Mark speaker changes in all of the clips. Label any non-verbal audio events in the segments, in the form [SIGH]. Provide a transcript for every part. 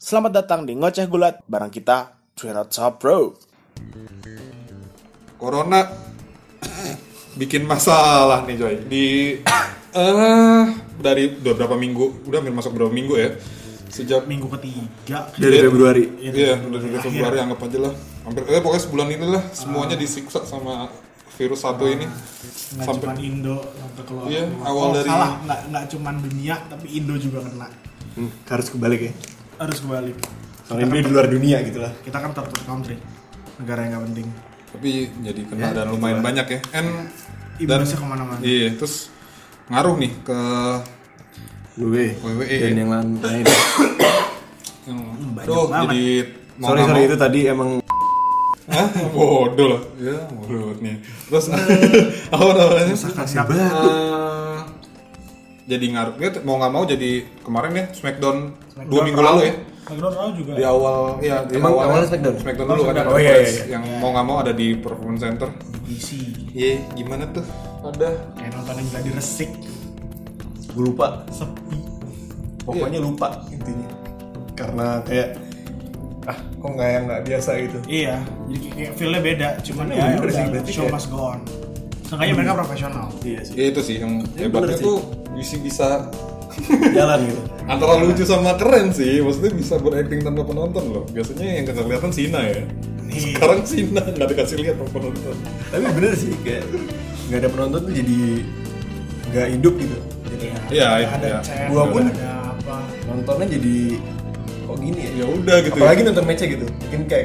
Speaker 1: Selamat datang di Ngoceh Gulat, barang kita Twinot Top Bro.
Speaker 2: Corona [COUGHS] bikin masalah nih coy di [COUGHS] eh dari udah berapa minggu udah hampir masuk berapa minggu ya sejak
Speaker 3: minggu ketiga
Speaker 4: dari Februari
Speaker 2: iya udah dari Februari anggap aja lah hampir eh, pokoknya sebulan ini lah semuanya disiksa sama virus satu ini
Speaker 3: nggak
Speaker 2: Sampai-
Speaker 3: cuma Indo sampai keluar
Speaker 2: Iya,
Speaker 3: keluar.
Speaker 2: awal
Speaker 3: Oh,
Speaker 2: dari-
Speaker 3: salah nggak nggak cuma dunia tapi Indo juga kena
Speaker 4: harus kebalik ya
Speaker 3: harus kebalik kan
Speaker 4: soalnya dia di luar dunia gitu lah
Speaker 3: kita kan third country negara yang nggak penting
Speaker 2: tapi jadi
Speaker 4: Eh,
Speaker 2: kena dan lumayan banyak ya and
Speaker 3: imbasnya kemana-mana
Speaker 2: iya terus ngaruh nih ke E.
Speaker 4: WWE
Speaker 2: WWE.
Speaker 4: dan yang lain Hmm,
Speaker 2: yang
Speaker 3: banyak
Speaker 2: Duh,
Speaker 3: banget.
Speaker 2: jadi mau
Speaker 4: sorry
Speaker 2: nggak
Speaker 4: sorry
Speaker 2: mau-
Speaker 4: itu tadi emang
Speaker 2: Hah? Bodoh lah. Ya, bodoh nih. Terus
Speaker 4: Nah.
Speaker 2: [LAUGHS] apa namanya?
Speaker 3: Kasih
Speaker 2: Eh, jadi ngaruh dia tuh mau nggak mau jadi kemarin ya Smackdown, dua minggu lalu ya
Speaker 3: McDonald Raw juga
Speaker 2: di awal ya di
Speaker 4: Emang awalnya Smackdown?
Speaker 2: Smackdown dulu kan ada
Speaker 4: Oh, iya,
Speaker 2: press
Speaker 4: iya,
Speaker 2: yang mau nggak mau ada di Performance Center.
Speaker 3: DC
Speaker 2: Iya, gimana tuh? Ada
Speaker 3: kayak nontonin gladi resik
Speaker 4: gue lupa
Speaker 3: sepi
Speaker 4: pokoknya lupa intinya karena kayak ah kok nggak yang nggak biasa gitu
Speaker 3: iya jadi kayak- kayak feelnya beda cuman
Speaker 4: Iya,
Speaker 3: ya
Speaker 4: bener sih,
Speaker 3: udah,
Speaker 4: berarti
Speaker 3: show
Speaker 4: kayak-
Speaker 3: must go on Seenggaknya mereka
Speaker 2: Hmm.
Speaker 3: profesional
Speaker 4: iya sih
Speaker 2: ya itu sih yang
Speaker 4: Iya,
Speaker 2: hebatnya
Speaker 4: bener sih.
Speaker 2: tuh bisa bisa
Speaker 4: [LAUGHS] jalan gitu
Speaker 2: antara lucu sama keren sih maksudnya bisa berakting tanpa penonton loh biasanya yang nggak kelihatan Sina ya
Speaker 3: Nih.
Speaker 2: sekarang Sina nggak dikasih lihat sama penonton
Speaker 4: tapi bener sih kayak nggak ada penonton tuh jadi nggak hidup gitu jadi
Speaker 2: Iya,
Speaker 3: ada, ada
Speaker 2: iya.
Speaker 3: chat,
Speaker 4: Gua pun-
Speaker 3: ada apa
Speaker 4: nontonnya jadi kok gini ya
Speaker 2: ya udah gitu ya.
Speaker 4: apalagi nonton matchnya gitu mungkin kayak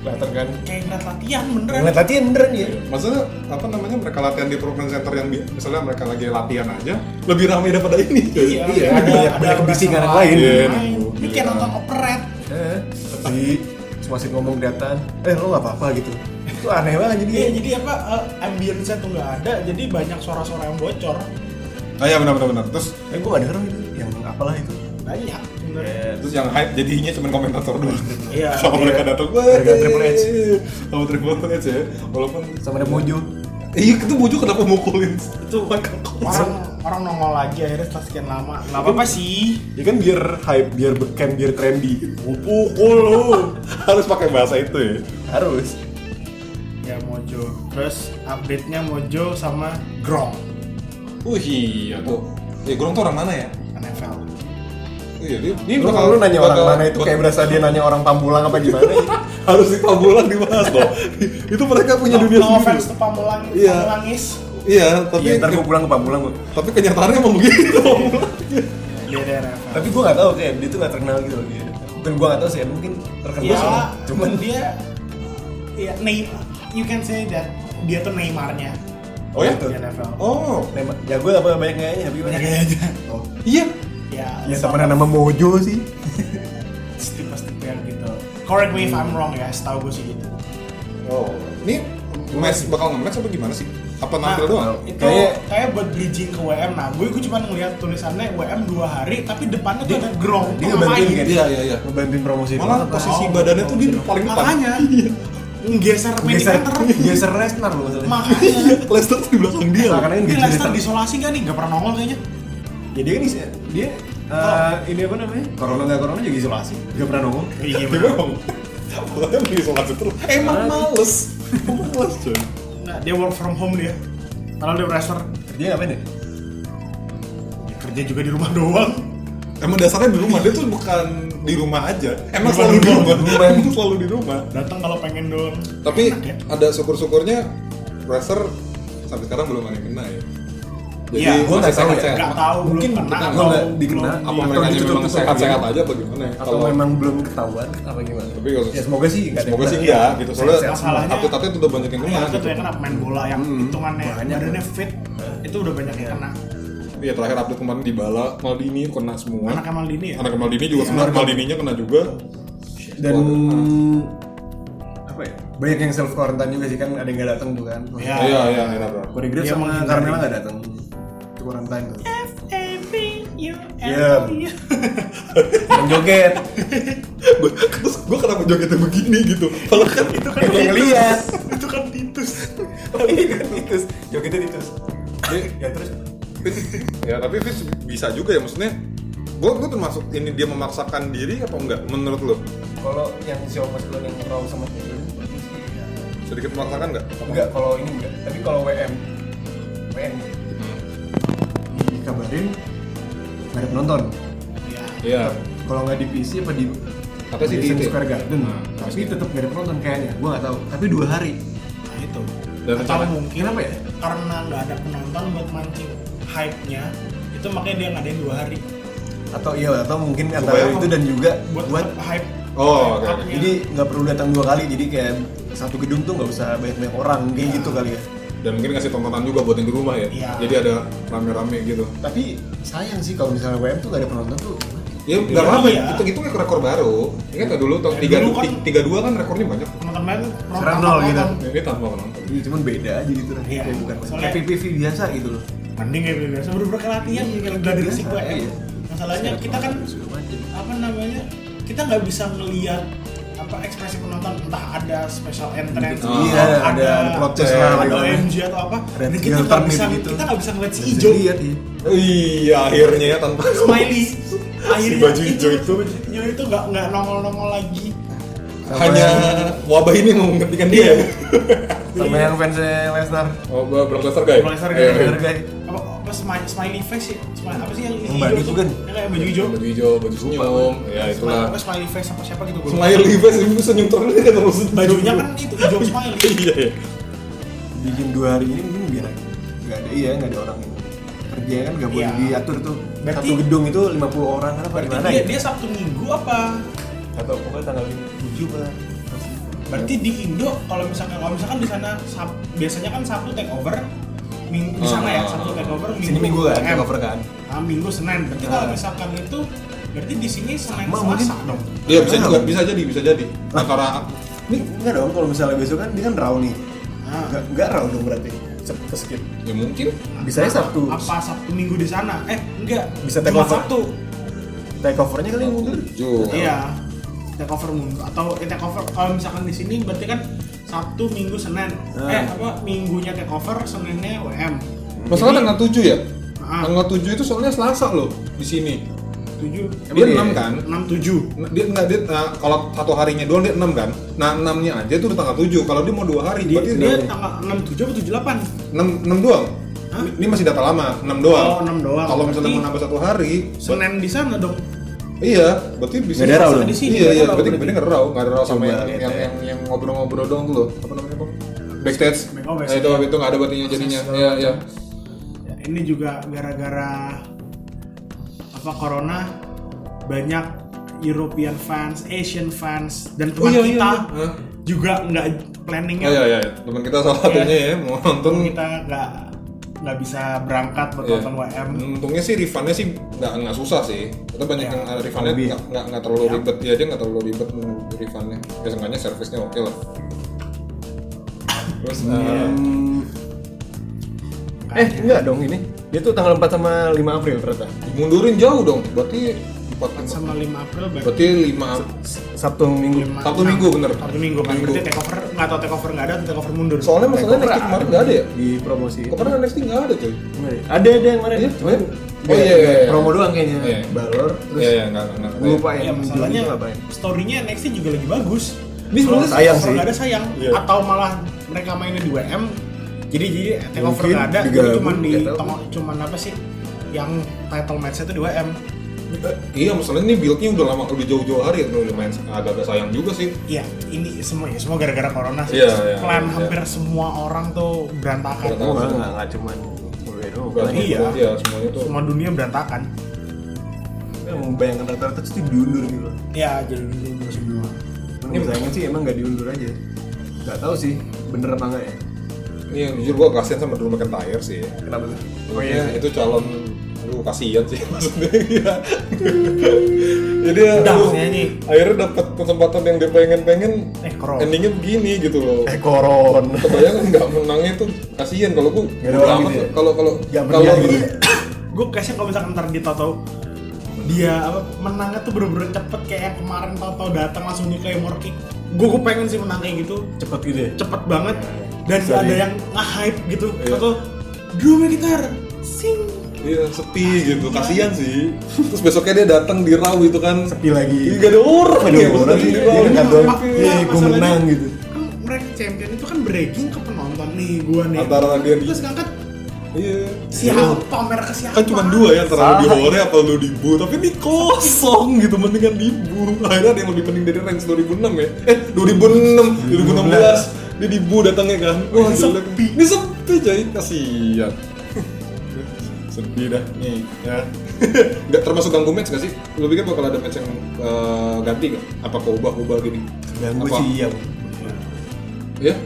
Speaker 4: kelihatan kan
Speaker 3: kayak ngeliat latihan beneran
Speaker 4: ngeliat latihan beneran ya
Speaker 2: Maksudnya apa namanya mereka latihan di program center yang bi- misalnya mereka lagi latihan aja lebih ramai daripada ini.
Speaker 3: Iya,
Speaker 2: [LAUGHS]
Speaker 4: Iya,
Speaker 3: ada
Speaker 4: banyak- banyak
Speaker 3: orang
Speaker 4: bisi
Speaker 3: sama
Speaker 4: karena lain.
Speaker 2: Iya,
Speaker 3: lain.
Speaker 2: nunggu
Speaker 3: Ini kayak
Speaker 2: giliran.
Speaker 3: nonton operet.
Speaker 4: Eh, di masih ngomong kelihatan eh lo nggak apa-apa gitu itu aneh banget jadi
Speaker 3: Iya, jadi apa eh, ambience-nya tuh nggak ada, jadi banyak suara-suara yang bocor.
Speaker 2: Ah ya benar benar benar. Terus
Speaker 4: eh gue gak denger gitu yang apalah itu
Speaker 3: Banyak sebenarnya.
Speaker 2: terus yang hype jadinya cuma komentator doang.
Speaker 3: Iya.
Speaker 2: Sama mereka datang wah. iya."
Speaker 4: Gara-gara Triple H.
Speaker 2: Sama Triple H ya. Walaupun
Speaker 4: sama ada Mojo
Speaker 2: iya itu Mojo kenapa mukulin?
Speaker 3: Itu orang orang nongol lagi akhirnya setelah sekian lama. Nggak apa-apa sih.
Speaker 4: ya kan biar hype biar beken biar trendy gitu.
Speaker 2: Pukul lu. [LAUGHS] Harus pakai bahasa itu ya.
Speaker 4: harus
Speaker 3: Ya Mojo. Terus update-nya Mojo sama Grong
Speaker 2: Uh iya tuh. Ya Grong tuh orang mana ya?
Speaker 3: NFL.
Speaker 2: Iya dia. Ini
Speaker 4: lu
Speaker 2: bakal-
Speaker 4: kalau lu nanya orang
Speaker 2: bakal-
Speaker 4: mana itu kayak berasa dia nanya orang Pambulang apa [LAUGHS] gimana ya.
Speaker 2: harus di Pamulang dibahas [LAUGHS] loh. itu mereka punya Iya, dunia
Speaker 3: No
Speaker 2: sendiri.
Speaker 3: offense to Pamulang,
Speaker 2: Iya.
Speaker 3: Pamulangis.
Speaker 2: Iya, tapi
Speaker 4: Iya, ntar gue pulang ke Pamulang gue
Speaker 2: tapi kenyataannya emang begitu.
Speaker 3: Dia dari NFL.
Speaker 4: tapi gue gak tau kayak dia tuh gak terkenal gitu loh dia dan gue gak tau sih ya, mungkin terkenal
Speaker 3: Ya,
Speaker 4: sama-
Speaker 3: cuman
Speaker 4: cuman
Speaker 3: dia ya Neymar. You can say that dia tuh Neymarnya
Speaker 2: Oh ya?
Speaker 4: Gitu.
Speaker 3: di NFL.
Speaker 2: [LAUGHS] Oh,
Speaker 4: Neymar jago ya apa banyak kayaknya tapi Iya, banyak aja oh
Speaker 2: iya.
Speaker 3: Ya,
Speaker 4: ya
Speaker 3: sama-
Speaker 4: temenan sama Mojo sih
Speaker 3: tipe-tipe yang gitu correct me if I'm wrong ya setahu gue sih gitu
Speaker 2: Oh, ini match bakal nge-match apa gimana sih? Apa nampil doang?
Speaker 3: Nah, itu kayak,
Speaker 4: Kayak-
Speaker 3: buat bridging ke WM nah gue gue cuma ngeliat tulisannya WM dua hari tapi depannya tuh ada grong
Speaker 4: dia
Speaker 3: tuh
Speaker 4: ngebantuin
Speaker 3: ngapain?
Speaker 4: kan
Speaker 2: Iya, iya, iya.
Speaker 4: ngebantuin promosi
Speaker 2: Malah posisi
Speaker 3: Oh,
Speaker 2: badannya tuh dia paling depan.
Speaker 3: makanya nggeser main
Speaker 4: geser
Speaker 3: center
Speaker 4: [LAUGHS] geser Lesnar loh maksudnya
Speaker 3: makanya
Speaker 2: Iya, Leicester tuh di belakang dia.
Speaker 4: Nah, karena kan
Speaker 3: ini
Speaker 4: gini
Speaker 3: Leicester
Speaker 4: Lesnar
Speaker 3: disolasi gak nih gak pernah nongol kayaknya
Speaker 4: ya dia kan isi- dia eh, ini apa namanya corona nggak corona juga isolasi nggak pernah nongol
Speaker 3: iya
Speaker 2: Dia memang Makanya lagi sholat terus. Emang males. Males, coy.
Speaker 3: nah, dia work from home dia padahal dia wrestler
Speaker 4: kerja ngapain ya
Speaker 3: Dia kerja juga di rumah [LAUGHS] doang
Speaker 2: Emang dasarnya di rumah dia tuh bukan di rumah aja. Emang selalu di rumah. Emang [LAUGHS] selalu di rumah.
Speaker 3: datang kalau pengen doang
Speaker 2: Tapi
Speaker 3: Enak ya.
Speaker 2: ada syukur-syukurnya Racer sampai sekarang belum ada yang kena ya.
Speaker 3: Iya,
Speaker 4: gua nggak tahu ya.
Speaker 2: sehat-sehat.
Speaker 3: Gak tahu
Speaker 4: Mungkin
Speaker 3: belum
Speaker 4: kita
Speaker 3: pernah
Speaker 4: nggak
Speaker 3: belum-
Speaker 4: dikena,
Speaker 3: belum
Speaker 2: apa mereka
Speaker 3: di-
Speaker 2: hanya memang
Speaker 4: ditutup-tutupin
Speaker 2: sehat-sehat aja apa gimana ya?
Speaker 4: atau memang belum ketahuan apa gimana
Speaker 2: tapi kalau
Speaker 4: ya semoga sih nggak ada
Speaker 2: semoga
Speaker 4: yang
Speaker 2: sih
Speaker 4: kena.
Speaker 2: enggak gitu soalnya
Speaker 3: Sehat-sehat semua.
Speaker 2: atlet-atlet udah banyak yang kena
Speaker 3: Iya, itu
Speaker 2: gitu
Speaker 3: tuh yang kena pemain bola yang hitungannya
Speaker 4: Banyak.
Speaker 3: badannya fit itu udah banyak yang kena
Speaker 2: iya terakhir update kemarin di Bala Maldini kena semua
Speaker 3: anak Kamal Dini ya
Speaker 2: anak Maldini juga kena Maldininya kena juga iya.
Speaker 4: dan
Speaker 2: Keluarga.
Speaker 4: apa ya banyak yang self quarantine juga sih kan ada yang nggak datang tuh kan
Speaker 3: Iya.
Speaker 2: Ah, iya iya iya bro
Speaker 4: Corey Graves
Speaker 3: Dia
Speaker 4: sama
Speaker 3: menghindari.
Speaker 4: Carmela nggak datang itu quarantine tuh Iya. yang
Speaker 2: [LAUGHS]
Speaker 4: joget
Speaker 2: Gua- terus gue kenapa jogetnya begini gitu kalau kan itu
Speaker 4: yang kayak ngeliat
Speaker 3: [LAUGHS] itu kan titus
Speaker 4: titus jogetnya titus ya terus
Speaker 2: ya tapi Fitz bisa juga ya maksudnya gue gue termasuk ini dia memaksakan diri apa enggak menurut lo
Speaker 4: Kalau yang Xiaomi sebelum yang raw sama Taylor
Speaker 2: sedikit memaksakan nggak
Speaker 4: enggak kalau ini enggak. Tapi kalau WM WM
Speaker 2: Hmm.
Speaker 4: dikabarin nggak ada penonton.
Speaker 2: iya
Speaker 4: Kalau nggak di PC apa di
Speaker 2: Katanya sih di
Speaker 4: Madison
Speaker 2: itu ya?
Speaker 4: Square Garden.
Speaker 3: Ah,
Speaker 2: Nah,
Speaker 4: tapi tetap nggak ada penonton kayaknya. Gua nggak tahu. Tapi dua hari.
Speaker 3: Nah itu.
Speaker 2: Dan
Speaker 3: Atau
Speaker 2: rencana-
Speaker 3: mungkin
Speaker 4: Kenapa ya?
Speaker 3: karena nggak ada penonton buat mancing hype-nya, itu makanya dia ngadain dua hari
Speaker 4: Atau iya atau mungkin antara
Speaker 2: Supaya-
Speaker 4: itu dan juga
Speaker 3: buat,
Speaker 4: buat
Speaker 3: hype.
Speaker 2: Oh, oke, oke.
Speaker 3: hype-nya.
Speaker 4: Jadi nggak perlu datang dua kali, jadi kayak satu gedung tuh nggak usah banyak-banyak orang, kayak
Speaker 3: Ah.
Speaker 4: gitu kali ya.
Speaker 2: dan mungkin ngasih tontonan juga buat yang di rumah ya
Speaker 3: Iya.
Speaker 2: jadi ada rame-rame gitu
Speaker 4: Tapi sayang sih kalau misalnya WM tuh nggak ada penonton tuh.
Speaker 2: ya nggak
Speaker 3: Iya.
Speaker 2: apa-apa itu gitu kan rekor baru ingat nggak dulu tahun
Speaker 3: Ya,
Speaker 2: tiga
Speaker 3: dulu kan-
Speaker 2: tiga dua kan rekornya banyak
Speaker 3: penonton main
Speaker 4: Sekarang nol gitu.
Speaker 2: ini tanpa penonton
Speaker 4: Iya, cuman beda aja gitu lah.
Speaker 3: Iya.
Speaker 4: Kayak bukan
Speaker 3: Soalnya-
Speaker 4: kayak PPV biasa gitu loh.
Speaker 3: Mending ya biasa baru kayak latihan kayak dari
Speaker 4: Biasa,
Speaker 3: resiko ya.
Speaker 4: iya.
Speaker 3: Masalahnya kita kan
Speaker 4: Segala macem.
Speaker 3: apa namanya kita nggak bisa melihat apa ekspresi penonton entah ada special entrance
Speaker 2: Oh,
Speaker 3: atau
Speaker 4: iya, ada- ada plot twist lah,
Speaker 3: ada
Speaker 4: gitu.
Speaker 3: OMG atau apa dan
Speaker 4: Red
Speaker 3: kita nggak
Speaker 4: Hill Turn
Speaker 3: bisa
Speaker 4: gitu.
Speaker 3: kita nggak bisa ngeliat si
Speaker 4: Nggak bisa
Speaker 3: hijau
Speaker 4: dilihat, iya.
Speaker 2: iya akhirnya ya tanpa
Speaker 3: smiley akhirnya
Speaker 2: baju hijau itu.
Speaker 3: baju hijau itu nggak nggak nongol nongol lagi
Speaker 4: Sama
Speaker 2: hanya
Speaker 4: yang-
Speaker 2: wabah ini mau menghentikan dia
Speaker 3: Iya.
Speaker 4: sama yang fansnya Lesnar.
Speaker 2: oh Brock Lesnar guys
Speaker 3: Brock Lesnar,
Speaker 2: Iya,
Speaker 3: guys.
Speaker 2: iya.
Speaker 4: Bener guys.
Speaker 3: apa apa smiley, smiley face ya smiley, apa sih yang
Speaker 4: Yang baju kan?
Speaker 3: tuh?
Speaker 4: juga nih.
Speaker 3: yang kayak baju hijau
Speaker 2: baju hijau baju senyum ya
Speaker 3: Smiley,
Speaker 2: Nah, itulah
Speaker 3: apa smiley face apa siapa gitu gua lupa.
Speaker 2: Smiley face itu senyum terus dia terus
Speaker 3: bajunya kan itu hijau smiley
Speaker 2: iya iya.
Speaker 4: Bikin dua hari ini mungkin biar nggak ada iya nggak ada orang yang kerja kan nggak boleh
Speaker 3: Iya.
Speaker 4: diatur tuh.
Speaker 3: Berarti-
Speaker 4: Satu gedung itu 50 orang apa
Speaker 3: berarti
Speaker 4: gimana
Speaker 3: dia,
Speaker 4: ya?
Speaker 3: dia sabtu minggu apa
Speaker 4: Atau pokoknya tanggal 7 lah.
Speaker 3: Berarti di Indo kalau misalkan kalau misalkan di sana Sab- biasanya kan Sabtu take over, Minggu di sana ya Sabtu take over, Minggu
Speaker 4: Oh, sini minggu kan,
Speaker 3: PM.
Speaker 4: take over kan.
Speaker 3: Nah, Minggu Senin. Berarti kalau
Speaker 4: Ah.
Speaker 3: misalkan itu berarti di sini Senin
Speaker 4: Sama
Speaker 3: Selasa
Speaker 4: mungkin.
Speaker 3: dong.
Speaker 2: Iya bisa juga bisa jadi bisa jadi antara
Speaker 4: Ini enggak dong kalau misalnya besok kan dia kan raw nih.
Speaker 3: Ah.
Speaker 4: Enggak enggak raw dong berarti. Sep- Skip.
Speaker 2: ya mungkin
Speaker 4: Bisa ya Sabtu.
Speaker 3: Apa Sabtu Minggu di sana? Eh, enggak.
Speaker 4: Bisa take
Speaker 3: Cuma
Speaker 4: over.
Speaker 3: Sabtu.
Speaker 4: Take overnya kali mundur.
Speaker 2: juga
Speaker 3: Iya. Take over Minggu atau eh, take over kalau misalkan di sini berarti kan Sabtu, Minggu, Senin.
Speaker 4: Ah.
Speaker 3: Eh, apa Minggunya take over, Seninnya WM.
Speaker 2: Masalah tanggal 7 ya?
Speaker 3: Ah.
Speaker 2: Tanggal 7 itu soalnya Selasa loh di sini.
Speaker 3: 7
Speaker 2: Dia
Speaker 4: Emang iya?
Speaker 2: 6 kan?
Speaker 3: 6 7.
Speaker 2: Nah, Dia enggak dia nah, kalau satu harinya doang dia 6 kan. Nah, 6-nya aja itu udah tanggal 7. Kalau dia mau 2 hari
Speaker 3: Dia,
Speaker 2: berarti
Speaker 3: dia
Speaker 2: dia
Speaker 3: tanggal 6 7 atau 78?
Speaker 2: 6 6 doang.
Speaker 3: Hah?
Speaker 2: Ini masih data lama, 6 doang.
Speaker 3: Oh, 6 doang.
Speaker 2: Kalau misalnya
Speaker 3: Berarti-
Speaker 2: mau nambah satu hari,
Speaker 3: Senin di sana dong.
Speaker 2: iya, berarti bisa
Speaker 4: Nggak ada raw
Speaker 2: Selasa
Speaker 4: dong?
Speaker 2: di sini. Iya,
Speaker 3: Nggak
Speaker 2: iya,
Speaker 3: ada raw
Speaker 2: berarti
Speaker 3: berarti.
Speaker 2: berarti enggak raw, enggak ada raw sama
Speaker 4: Coba
Speaker 2: yang
Speaker 4: lihat
Speaker 2: yang,
Speaker 4: ya.
Speaker 2: yang yang ngobrol-ngobrol doang dulu. Apa namanya, Bang? Backstage.
Speaker 3: Oh,
Speaker 2: Nah,
Speaker 3: backstage.
Speaker 2: itu itu enggak ada berarti jadinya. Iya, iya.
Speaker 3: Ya, ini juga gara-gara apa corona banyak European fans, Asian fans dan
Speaker 2: Oh,
Speaker 3: teman
Speaker 2: iya, iya,
Speaker 3: kita
Speaker 2: iya. Hah?
Speaker 3: juga nggak planningnya
Speaker 2: Oh iya, iya, iya. Teman kita salah satunya ya mau nonton
Speaker 3: kita nggak nggak bisa berangkat buat
Speaker 2: Iya.
Speaker 3: nonton WM.
Speaker 2: Untungnya sih refundnya sih nggak nggak susah sih. Kita banyak
Speaker 3: Ya,
Speaker 2: yang refundnya
Speaker 4: lebih.
Speaker 2: nggak nggak nggak terlalu ribet ya dia nggak terlalu ribet menurut refundnya. Ya seenggaknya servisnya oke lah. Terus
Speaker 3: Iya.
Speaker 2: eh,
Speaker 4: Hmm. Eh, enggak dong ini. Dia tuh tanggal 4 sama 5 April ternyata.
Speaker 2: dimundurin jauh dong. Berarti empat
Speaker 3: Sama 5 April berarti
Speaker 2: berarti lima
Speaker 4: Sabtu Minggu.
Speaker 3: lima-
Speaker 2: Sabtu
Speaker 3: enam-
Speaker 2: Minggu, bener.
Speaker 3: Sabtu Minggu kan
Speaker 2: Minggu.
Speaker 3: berarti take over nggak tahu take over nggak ada atau take over mundur.
Speaker 2: soalnya masalahnya next kemarin nggak ada ya.
Speaker 4: Di promosi.
Speaker 2: Kemarin next nggak ada cuy.
Speaker 4: Nggak ada. Ada ada yang kemarin.
Speaker 2: Iya,
Speaker 4: Cuman
Speaker 2: oh, iya, iya, iya.
Speaker 4: promo doang kayaknya.
Speaker 2: Iya.
Speaker 4: Balor terus
Speaker 2: Iya iya nggak nggak.
Speaker 4: gue lupa
Speaker 3: Ya,
Speaker 4: yang
Speaker 3: masalahnya
Speaker 4: jualnya ngapain.
Speaker 3: story-nya NXT juga lagi bagus.
Speaker 2: Ini sebenarnya
Speaker 4: sayang
Speaker 3: Kalau
Speaker 4: sih.
Speaker 3: nggak ada sayang
Speaker 2: Iya.
Speaker 3: atau malah mereka mainnya di WM. Jadi jadi takeover
Speaker 4: Mungkin
Speaker 3: nggak ada, jadi
Speaker 4: digabung,
Speaker 3: cuman di
Speaker 4: nggak tahu.
Speaker 3: tengok- cuman apa sih yang title match itu di WM.
Speaker 2: Eh, Iya masalahnya ini buildnya udah lama udah jauh-jauh hari ya. Udah main agak-agak sayang juga sih.
Speaker 3: Iya, ini semua ya semua gara-gara corona sih.
Speaker 2: Iya, iya,
Speaker 3: Plan
Speaker 2: iya.
Speaker 3: hampir semua orang tuh berantakan.
Speaker 2: Berantakan.
Speaker 4: Gue nggak nggak nggak cuman gue doang.
Speaker 2: Berarti
Speaker 3: Iya.
Speaker 2: iya semuanya tuh.
Speaker 3: Semua dunia berantakan.
Speaker 4: Yang membayangkan rata-rata itu diundur gitu. loh.
Speaker 3: Ya, jadi dulu semua.
Speaker 4: Cuman gue sayangnya sih emang nggak diundur aja. Nggak tahu sih bener apa nggak ya.
Speaker 2: Ini yang Iya, jujur gua kasihan sama Drew McIntyre sih.
Speaker 4: Kenapa tuh?
Speaker 2: Oh iya, itu calon lu kasihan sih [LAUGHS] maksudnya. Iya. Jadi ya,
Speaker 3: Udah,
Speaker 2: lu
Speaker 3: maksudnya ini.
Speaker 2: akhirnya dapat kesempatan yang dia pengen-pengen
Speaker 3: Eh, keren.
Speaker 2: endingnya begini gitu loh.
Speaker 4: Eh koron.
Speaker 2: Kebayang nggak menangnya tuh kasihan kalau gua
Speaker 4: Nggak ada
Speaker 2: bodo
Speaker 4: orang
Speaker 2: amat
Speaker 4: gitu ya?
Speaker 2: kalau kalau
Speaker 4: Nggak
Speaker 2: kalau
Speaker 4: meriah gitu.
Speaker 3: Gue kayaknya kalau misalkan ntar dia tau-tau dia apa menangnya tuh bener-bener cepet kayak yang kemarin tau-tau datang langsung di Claymore kick. Gue gue pengen sih menang kayak gitu.
Speaker 4: Cepet gitu ya.
Speaker 3: cepet banget dan
Speaker 4: Bisa
Speaker 3: ada
Speaker 4: di-
Speaker 3: yang nge-hype gitu
Speaker 2: Iya.
Speaker 3: atau drum gitar sing
Speaker 2: Iya, sepi gitu. Kasihan sih. Terus besoknya dia datang di Raw gitu kan.
Speaker 4: sepi lagi
Speaker 2: Ih, Gak ada orang
Speaker 4: Aduh,
Speaker 2: ya,
Speaker 4: orang
Speaker 2: maksudnya
Speaker 4: sih,
Speaker 2: di
Speaker 4: dia
Speaker 2: Raw.
Speaker 4: dekat doang
Speaker 3: Iya,
Speaker 4: iya gue
Speaker 3: masalahnya-
Speaker 4: menang gitu
Speaker 3: kan mereka champion itu kan breaking ke penonton nih gua nih
Speaker 2: Antara dia-
Speaker 3: terus ngangkat
Speaker 2: Iya.
Speaker 3: siapa mereka siapa
Speaker 2: kan cuma dua ya antara di hore apa lu dibu tapi ini kosong gitu mendingan dibu akhirnya ada yang lebih penting dari ranks 2006 ya eh 2006 2016 dia dibu datangnya kan wah
Speaker 3: Ini
Speaker 2: jelek.
Speaker 3: sepi.
Speaker 2: ini sepi coy kasihan sepi dah nih ya [LAUGHS] nggak termasuk ganggu match gak sih lu pikir bakal ada match yang eh, ganti gak apa keubah-ubah gini
Speaker 4: ganggu
Speaker 2: Apa?
Speaker 4: sih iya
Speaker 2: ya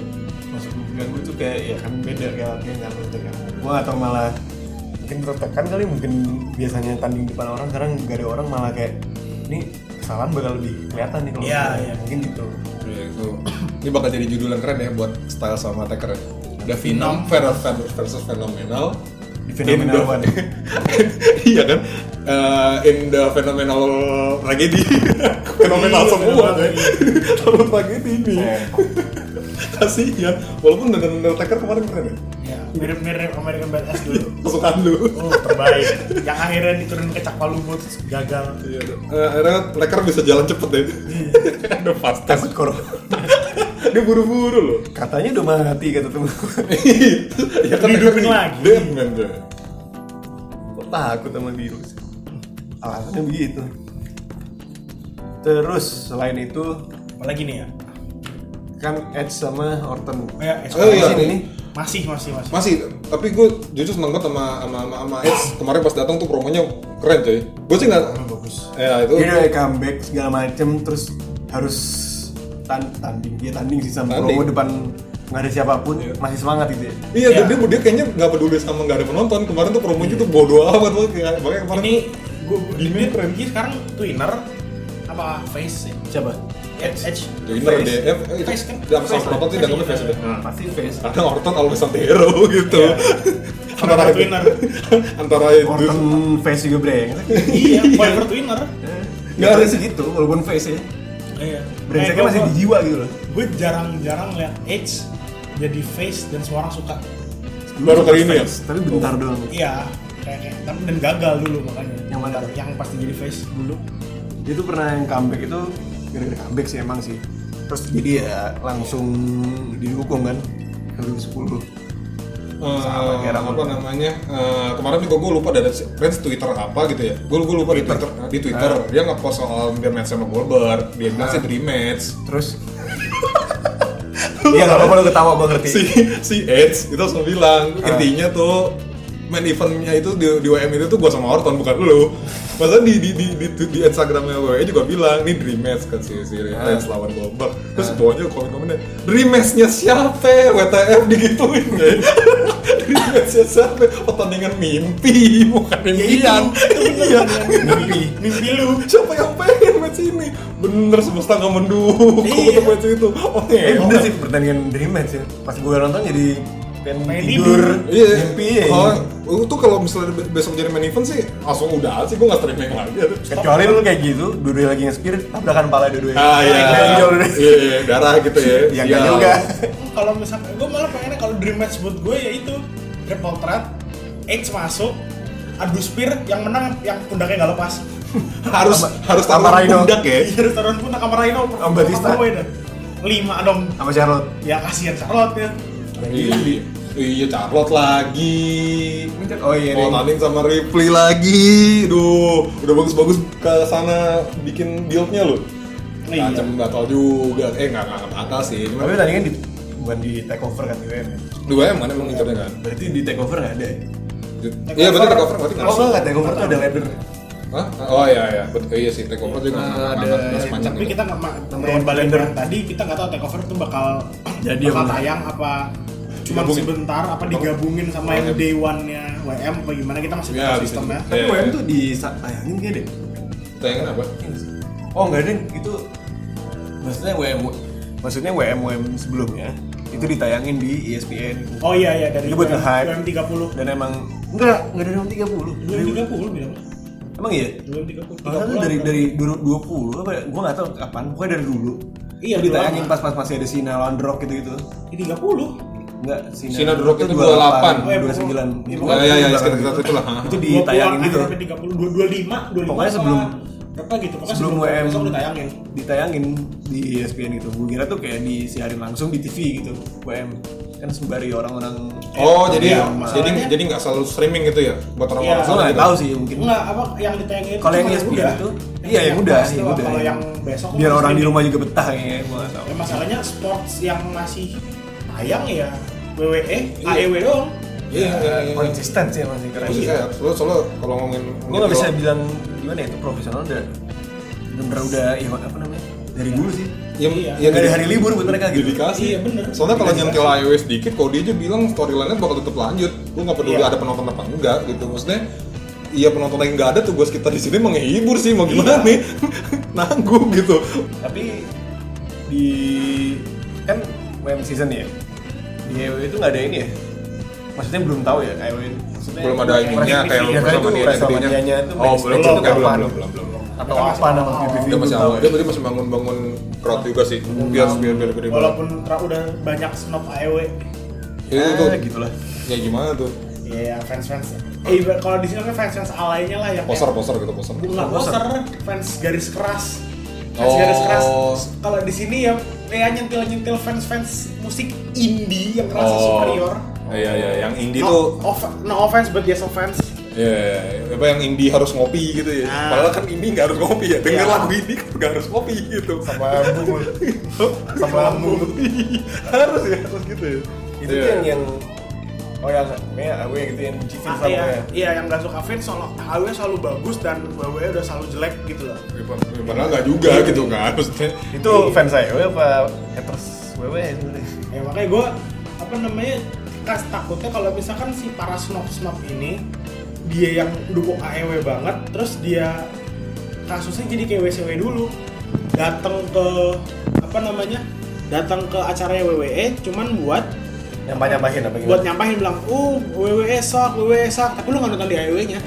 Speaker 4: maksud gue ganggu tuh kayak ya kan beda kayak kayak nggak ngerti kan gue atau malah mungkin tertekan kali mungkin biasanya tanding depan orang sekarang gak ada orang malah kayak ini kesalahan bakal lebih kelihatan nih kalau
Speaker 3: Iya,
Speaker 4: misalnya."
Speaker 3: iya.
Speaker 4: mungkin gitu
Speaker 2: Ya, itu. [CLEARS THROAT] Ini bakal jadi judul yang keren ya buat style sama Taker. ya. The Venom versus Phenomenal.
Speaker 4: Di Phenomenal One.
Speaker 2: [LAUGHS] iya kan? Eh, in the Phenomenal Tragedy. [LAUGHS] Phenomenal
Speaker 3: Iya,
Speaker 2: semua
Speaker 3: Phenomenal
Speaker 2: deh. [LAUGHS] Terlalu tragedi nih.
Speaker 4: Iya.
Speaker 2: [LAUGHS] Kasihan. Walaupun dengan Undertaker kemarin keren ya.
Speaker 3: ya mirip-mirip American Badass dulu
Speaker 2: Kesukaan lu.
Speaker 3: oh terbaik yang akhirnya diturunin ke cakwa lumut gagal
Speaker 2: Iya, eh, akhirnya Taker bisa jalan cepet ya. [LAUGHS] deh. Udah fastest.
Speaker 4: takut koro
Speaker 2: Dia buru-buru [LAUGHS] loh.
Speaker 4: [LAUGHS] katanya udah mati kata temen gue
Speaker 2: ya
Speaker 3: Dihidupin
Speaker 2: Taker
Speaker 3: lagi.
Speaker 2: Deadman deh.
Speaker 4: Gua takut sama virus alasannya begitu terus selain itu
Speaker 3: apalagi nih ya
Speaker 4: kan Edge sama Orton
Speaker 3: Oh ya,
Speaker 2: Oh
Speaker 3: SPL.
Speaker 2: iya,
Speaker 4: Masih nih.
Speaker 3: masih masih masih
Speaker 2: masih tapi gue jujur seneng banget sama sama sama, sama Edge. kemarin pas datang tuh promonya keren coy gue sih nggak
Speaker 3: bagus Iya.
Speaker 2: ya itu
Speaker 4: dia udah comeback segala macem terus harus tan- tanding dia tanding sih sama
Speaker 2: Tanding.
Speaker 4: promo depan nggak ada siapapun masih semangat gitu ya
Speaker 2: iya
Speaker 3: Ya.
Speaker 2: dia dia kayaknya nggak peduli sama nggak ada penonton kemarin tuh promonya tuh bodoh amat banget kayak makanya kemarin
Speaker 3: ini gue
Speaker 2: Di
Speaker 3: di
Speaker 2: main keren.
Speaker 3: dia sekarang twinner apa face ya?
Speaker 4: siapa
Speaker 3: Edge Edge
Speaker 2: Joiner
Speaker 4: Face.
Speaker 2: DF eh, itu
Speaker 3: Face kan?
Speaker 2: nggak sama
Speaker 3: Face
Speaker 2: penonton sih
Speaker 3: kan?
Speaker 2: nggak face
Speaker 3: Iya.
Speaker 2: udah
Speaker 4: pasti face
Speaker 2: karena Orton always on the hero gitu [LAUGHS] antara
Speaker 3: Forever winner.
Speaker 2: [LAUGHS] antara itu
Speaker 4: Orton face juga breng [LAUGHS]
Speaker 3: iya forever twinner
Speaker 4: nggak ada segitu walaupun face ya
Speaker 3: iya
Speaker 4: brengseknya masih di jiwa gitu loh
Speaker 3: gue jarang-jarang liat Edge jadi face dan semua orang suka
Speaker 2: Baru kali ini ya?
Speaker 4: Face, tapi bentar doang
Speaker 3: iya kayak kayak tapi dan gagal dulu makanya
Speaker 4: Yang mana?
Speaker 3: yang pasti jadi face dulu
Speaker 4: dia tuh pernah yang comeback itu gara-gara comeback sih emang sih terus jadi ya langsung didukung kan 2010 Sama
Speaker 2: Eh,
Speaker 4: kayak
Speaker 2: apa
Speaker 4: rambut.
Speaker 2: namanya eh, kemarin juga gue lupa ada Prince Twitter apa gitu ya gue gue lupa di Twitter di Twitter
Speaker 4: Ah.
Speaker 2: dia ngepost soal dia match sama Goldberg dia bilang sih dream match
Speaker 4: terus iya nggak apa-apa lu ketawa gue ngerti
Speaker 2: si si Edge itu langsung bilang intinya tuh main eventnya itu di, di WM itu tuh gue sama Orton bukan lu masa di di di di, di Instagramnya WWE juga bilang ini dream match kan si si Edge lawan Goldberg terus bawahnya komen komennya dream matchnya siapa ya? WTF digituin ya [LAUGHS] dream matchnya siapa pertandingan mimpi bukan
Speaker 4: Ya
Speaker 2: impian iya
Speaker 3: mimpi mimpi lu
Speaker 2: siapa yang pengen match ini bener semesta gak mendukung
Speaker 3: Iya.
Speaker 2: untuk match itu oh iya
Speaker 4: eh bener sih pertandingan dream match ya pas gue nonton jadi pengen
Speaker 3: Pengen
Speaker 4: tidur
Speaker 2: Iya,
Speaker 4: mimpi ya
Speaker 2: Kalau itu kalau misalnya be- besok jadi main event sih langsung udah sih gue nggak streaming lagi.
Speaker 4: kecuali lu kayak gitu dua-dua lagi nge-spirit tabrakan pala dua-duanya
Speaker 2: Ah iya,
Speaker 4: Benjol dua-duanya.
Speaker 2: iya, iya, darah gitu ya.
Speaker 4: ya nggak juga
Speaker 3: kalau misalnya gue malah pengennya kalau dream match buat gue ya itu triple threat Edge masuk adu spirit yang menang yang pundaknya nggak lepas
Speaker 2: Harus
Speaker 4: Sama-
Speaker 2: harus
Speaker 4: sama
Speaker 2: taruh
Speaker 4: Rhino.
Speaker 2: pundak ya.
Speaker 3: [LAUGHS] terus taruhan pun kamar Rhino
Speaker 4: Sama Batista.
Speaker 3: Sama gue dah. lima dong
Speaker 4: sama Charlotte
Speaker 3: ya kasihan Charlotte ya
Speaker 2: Iya, iya Charlotte lagi.
Speaker 4: oh iya
Speaker 2: Mau
Speaker 4: nih.
Speaker 2: tanding sama Ripley lagi. Duh, udah bagus-bagus ke sana bikin build-nya loh.
Speaker 3: Iya.
Speaker 2: Macam batal juga. Eh nggak nggak batal sih.
Speaker 4: tapi
Speaker 2: Cuma
Speaker 4: tadi kan di bukan di take over kan di WM ya?
Speaker 2: dua emang emang ngincernya kan.
Speaker 4: berarti di take over nggak ada ya
Speaker 2: Iya berarti takeover berarti nggak
Speaker 4: Oh
Speaker 2: masuk.
Speaker 4: enggak, takeover tuh ada ladder.
Speaker 2: Hah? Oh iya iya, betul iya sih takeover juga
Speaker 4: Nah,
Speaker 2: nggak-
Speaker 4: ada-
Speaker 2: nggak- nggak
Speaker 4: ada-
Speaker 2: sepanjang
Speaker 3: tapi
Speaker 2: itu.
Speaker 3: kita nggak ma-
Speaker 4: Nomor
Speaker 3: dengan
Speaker 4: one
Speaker 3: balen
Speaker 4: contender.
Speaker 3: yang tadi kita nggak tahu takeover tuh bakal
Speaker 4: [CLEARS THROAT] Jadi
Speaker 3: bakal
Speaker 4: apa enggak?
Speaker 3: tayang apa cuma
Speaker 2: Digabungin.
Speaker 3: sebentar apa digabungin sama yang day one nya WM apa gimana kita masih
Speaker 2: Ya,
Speaker 3: tahu
Speaker 4: gitu.
Speaker 2: bisa
Speaker 3: sistemnya
Speaker 2: juga.
Speaker 4: Tapi
Speaker 2: Iya,
Speaker 4: WM
Speaker 2: iya.
Speaker 4: tuh di tayangin kayak deh.
Speaker 2: Tayangin apa?
Speaker 4: Oh enggak deh, itu maksudnya WM maksudnya WM WM sebelumnya itu ditayangin di E ESPN.
Speaker 3: oh iya iya dari
Speaker 4: Ini buat nge-hype.
Speaker 3: WM 30
Speaker 4: Dan emang enggak, enggak dari tahun 30.
Speaker 3: WM
Speaker 4: Dari-
Speaker 3: 30 bilang
Speaker 4: Emang iya?
Speaker 3: WM 30
Speaker 4: Kalau itu
Speaker 3: 30
Speaker 4: dari
Speaker 3: apa?
Speaker 4: dari 2020 apa gua enggak tahu kapan, pokoknya dari dulu.
Speaker 3: Iya,
Speaker 4: Itu ditayangin
Speaker 3: dulu lama.
Speaker 4: pas-pas masih ada sinyal on rock gitu-gitu.
Speaker 3: Di 30
Speaker 4: Enggak,
Speaker 2: Sinar Rock itu 28.
Speaker 3: Oh, ya,
Speaker 4: 29.
Speaker 3: pokoknya-
Speaker 2: Ya, ya, ya, sekitar sekitar itulah.
Speaker 4: iya, Itu
Speaker 3: Gua pulang
Speaker 4: ditayangin gitu.
Speaker 3: akhirnya 30, dua- 25, 25
Speaker 4: Pokoknya sebelum-
Speaker 3: apa, berapa gitu, pokoknya
Speaker 4: Sebelum WM
Speaker 3: besok ditayangin.
Speaker 4: ditayangin di ESPN gitu. Gue kira tuh kayak disiarin langsung di TV gitu. WM kan sembari orang-orang
Speaker 2: Oh, jadi
Speaker 3: Iya,
Speaker 2: jadi
Speaker 3: masalahnya-
Speaker 2: jadi nggak selalu streaming gitu ya buat orang-orang
Speaker 3: Iya.
Speaker 4: gue
Speaker 2: sana
Speaker 4: nggak
Speaker 2: gitu.
Speaker 4: tahu sih mungkin
Speaker 3: Enggak, apa yang ditayangin
Speaker 4: Kalau yang E
Speaker 3: cuma
Speaker 4: ESPN itu,
Speaker 3: Yang
Speaker 4: iya, yang
Speaker 3: yang
Speaker 4: udah,
Speaker 3: pas
Speaker 4: yang
Speaker 3: doang.
Speaker 4: udah.
Speaker 3: Kalau yang besok kan
Speaker 4: biar orang di
Speaker 3: streaming.
Speaker 4: rumah juga betah kayaknya gue nggak tahu.
Speaker 3: Ya, masalahnya sports yang masih tayang ya WWE, AEW E doang.
Speaker 2: Iya, iya, iya.
Speaker 4: Konsisten sih masih keren.
Speaker 3: Iya.
Speaker 2: Maksud saya, Lo selalu kalau ngomongin Iya,
Speaker 4: gue nggak bisa bilang gimana ya itu profesional udah bener udah ya apa namanya dari dulu sih
Speaker 2: ya,
Speaker 3: Iya.
Speaker 2: ya,
Speaker 4: nggak ada
Speaker 2: dedi-
Speaker 4: hari libur buat mereka gitu
Speaker 2: Dedikasi.
Speaker 3: Iya, bener.
Speaker 2: Soalnya kalau
Speaker 3: Dedikasi.
Speaker 2: nyentil IW sedikit, kalau dia aja bilang storyline-nya bakal tetap lanjut. Gue nggak peduli
Speaker 3: Iya.
Speaker 2: ada penonton apa enggak gitu. Maksudnya Iya penonton yang nggak ada tugas kita di sini menghibur sih mau gimana
Speaker 4: Iya.
Speaker 2: nih [LAUGHS] nanggung gitu.
Speaker 4: tapi di kan WM season ya di EW itu nggak ada ini ya maksudnya belum tahu ya EW maksudnya
Speaker 2: Belum ada ininya kayak
Speaker 4: ya, kan itu
Speaker 2: WrestleMania
Speaker 4: WrestleMania itu
Speaker 2: Oh
Speaker 4: backstage
Speaker 2: belum
Speaker 4: itu
Speaker 2: belum belum
Speaker 4: kapan?
Speaker 2: belum belum belum.
Speaker 4: atau apa nama PPV
Speaker 2: Dia masih awal.
Speaker 4: tahu
Speaker 2: Dia
Speaker 4: ya
Speaker 2: berarti masih bangun-bangun crowd juga sih. Biar biar biar gede banget.
Speaker 3: Walaupun tra- udah banyak snob E AEW.
Speaker 2: Ya, itu
Speaker 4: Ah,
Speaker 3: gitu.
Speaker 4: gitulah
Speaker 2: ya gimana tuh?
Speaker 3: Iya, fans-fans. Eh, iba- kalau di sini kan fans-fans alainya lah yang
Speaker 2: Poser poser gitu poser.
Speaker 3: Bukan
Speaker 4: Poser.
Speaker 3: poser, fans garis keras. Fans
Speaker 2: Oh.
Speaker 3: garis keras. Kalau di sini ya kayak nyentil-nyentil fans-fans musik indie yang kerasa superior.
Speaker 2: Iya iya yang indie
Speaker 3: no,
Speaker 2: tuh
Speaker 3: off- no offense but yes offense.
Speaker 2: ya apa yang indie harus ngopi gitu ya.
Speaker 3: Ah.
Speaker 2: Padahal kan indie nggak harus ngopi ya. Denger
Speaker 3: Iya.
Speaker 2: lagu indie kan nggak harus ngopi gitu.
Speaker 4: sama bungul sama
Speaker 3: [LAUGHS]
Speaker 4: lambung
Speaker 2: harus ya harus gitu ya.
Speaker 4: itu
Speaker 2: Iya.
Speaker 4: yang yang oh yang kayak AW gitu yang cheating
Speaker 3: Ah,
Speaker 4: sama
Speaker 3: iya,
Speaker 4: ya
Speaker 3: iya yang gak suka Vince solo AW selalu bagus dan WWE udah selalu jelek gitu loh.
Speaker 2: Ya, pad- Padahal nggak juga
Speaker 3: Iya.
Speaker 2: gitu kan. Maksudnya
Speaker 4: itu fans saya WW apa haters E WW sebenarnya
Speaker 3: Ya makanya gue apa namanya kas takutnya kalau misalkan si para snob snob ini dia yang dukung AEW banget, terus dia kasusnya jadi kayak WCW dulu datang ke apa namanya datang ke acaranya WWE cuman buat
Speaker 4: nyampah nyampahin apa
Speaker 3: buat nyampahin bilang uh WWE sak WWE sak E tapi lu nggak nonton di AEW nya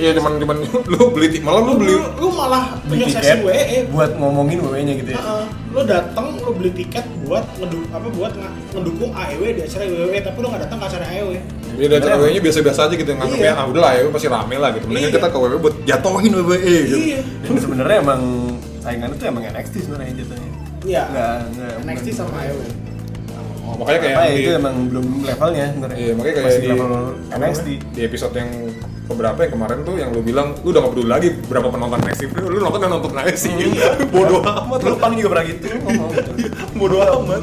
Speaker 2: Iya cuman cuman [LAUGHS] lu beli ti- malah lu
Speaker 3: lu,
Speaker 2: beli
Speaker 3: lu, lu malah
Speaker 4: beli
Speaker 3: punya
Speaker 4: tiket
Speaker 3: sesi Ah. WWE
Speaker 4: buat ngomongin WW nya gitu ya
Speaker 3: Heeh, lo datang lo beli tiket buat ngedu apa buat nge- ngedukung AEW di acara WWE tapi lo nggak datang ke acara E AEW
Speaker 2: Iya dan acara WWE-nya biasa-biasa aja gitu nganggapnya
Speaker 3: Iya.
Speaker 2: ah udahlah ya pasti rame lah gitu. Mendingan
Speaker 3: Iya.
Speaker 2: kita ke WWE buat jatohin WWE gitu.
Speaker 3: iya
Speaker 4: dan sebenarnya emang saingannya tuh emang NXT sebenarnya jatuhnya
Speaker 3: iya
Speaker 4: nggak nggak
Speaker 3: NXT
Speaker 4: bukan-
Speaker 3: sama AEW
Speaker 2: Oh, makanya kayak
Speaker 4: apa ya,
Speaker 2: di,
Speaker 4: itu emang belum levelnya sebenarnya
Speaker 2: Iya, makanya kayak
Speaker 4: masih
Speaker 2: di-
Speaker 4: level NXT
Speaker 2: di episode yang keberapa yang kemarin tuh yang lu bilang lu udah gak peduli lagi berapa penonton Messi lu nonton gak nonton Messi gitu. [LAUGHS] bodoh amat lu
Speaker 4: lu pan juga pernah gitu
Speaker 3: Oh,
Speaker 4: ngomong gitu
Speaker 2: bodoh amat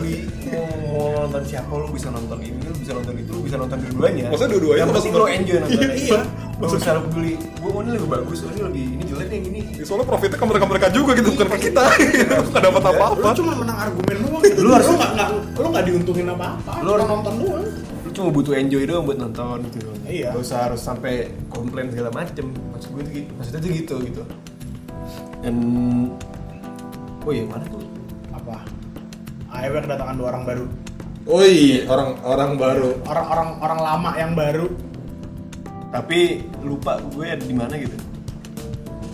Speaker 4: mau nonton siapa lu bisa nonton ini lu bisa nonton itu lu bisa nonton dua-duanya
Speaker 2: Maksudnya dua-duanya
Speaker 4: yang penting lu
Speaker 2: nonton.
Speaker 4: enjoy nontonnya
Speaker 2: Iya.
Speaker 4: maksudnya usah lu beli gua oh, ini lebih bagus oh, ini lebih ini jelek yang ini
Speaker 2: Iya, soalnya profitnya ke mereka mereka juga gitu bukan ke kita [LAUGHS] bukan dapat apa apa
Speaker 3: lo cuma menang argumen doang gitu.
Speaker 4: Lu
Speaker 3: lo
Speaker 4: harus-
Speaker 3: nggak nggak lo nggak diuntungin apa apa
Speaker 4: Lu
Speaker 3: lo
Speaker 4: harus-
Speaker 3: nonton doang
Speaker 4: lu cuma butuh enjoy doang buat nonton gitu doang.
Speaker 3: Iya.
Speaker 4: Gak usah harus sampai komplain segala macem maksud gue tuh gitu maksudnya tuh gitu gitu dan oh iya mana tuh
Speaker 3: apa AEW kedatangan dua orang baru
Speaker 2: oi Oh iya, orang orang baru
Speaker 3: orang-orang orang lama yang baru
Speaker 4: tapi lupa gue ada di mana gitu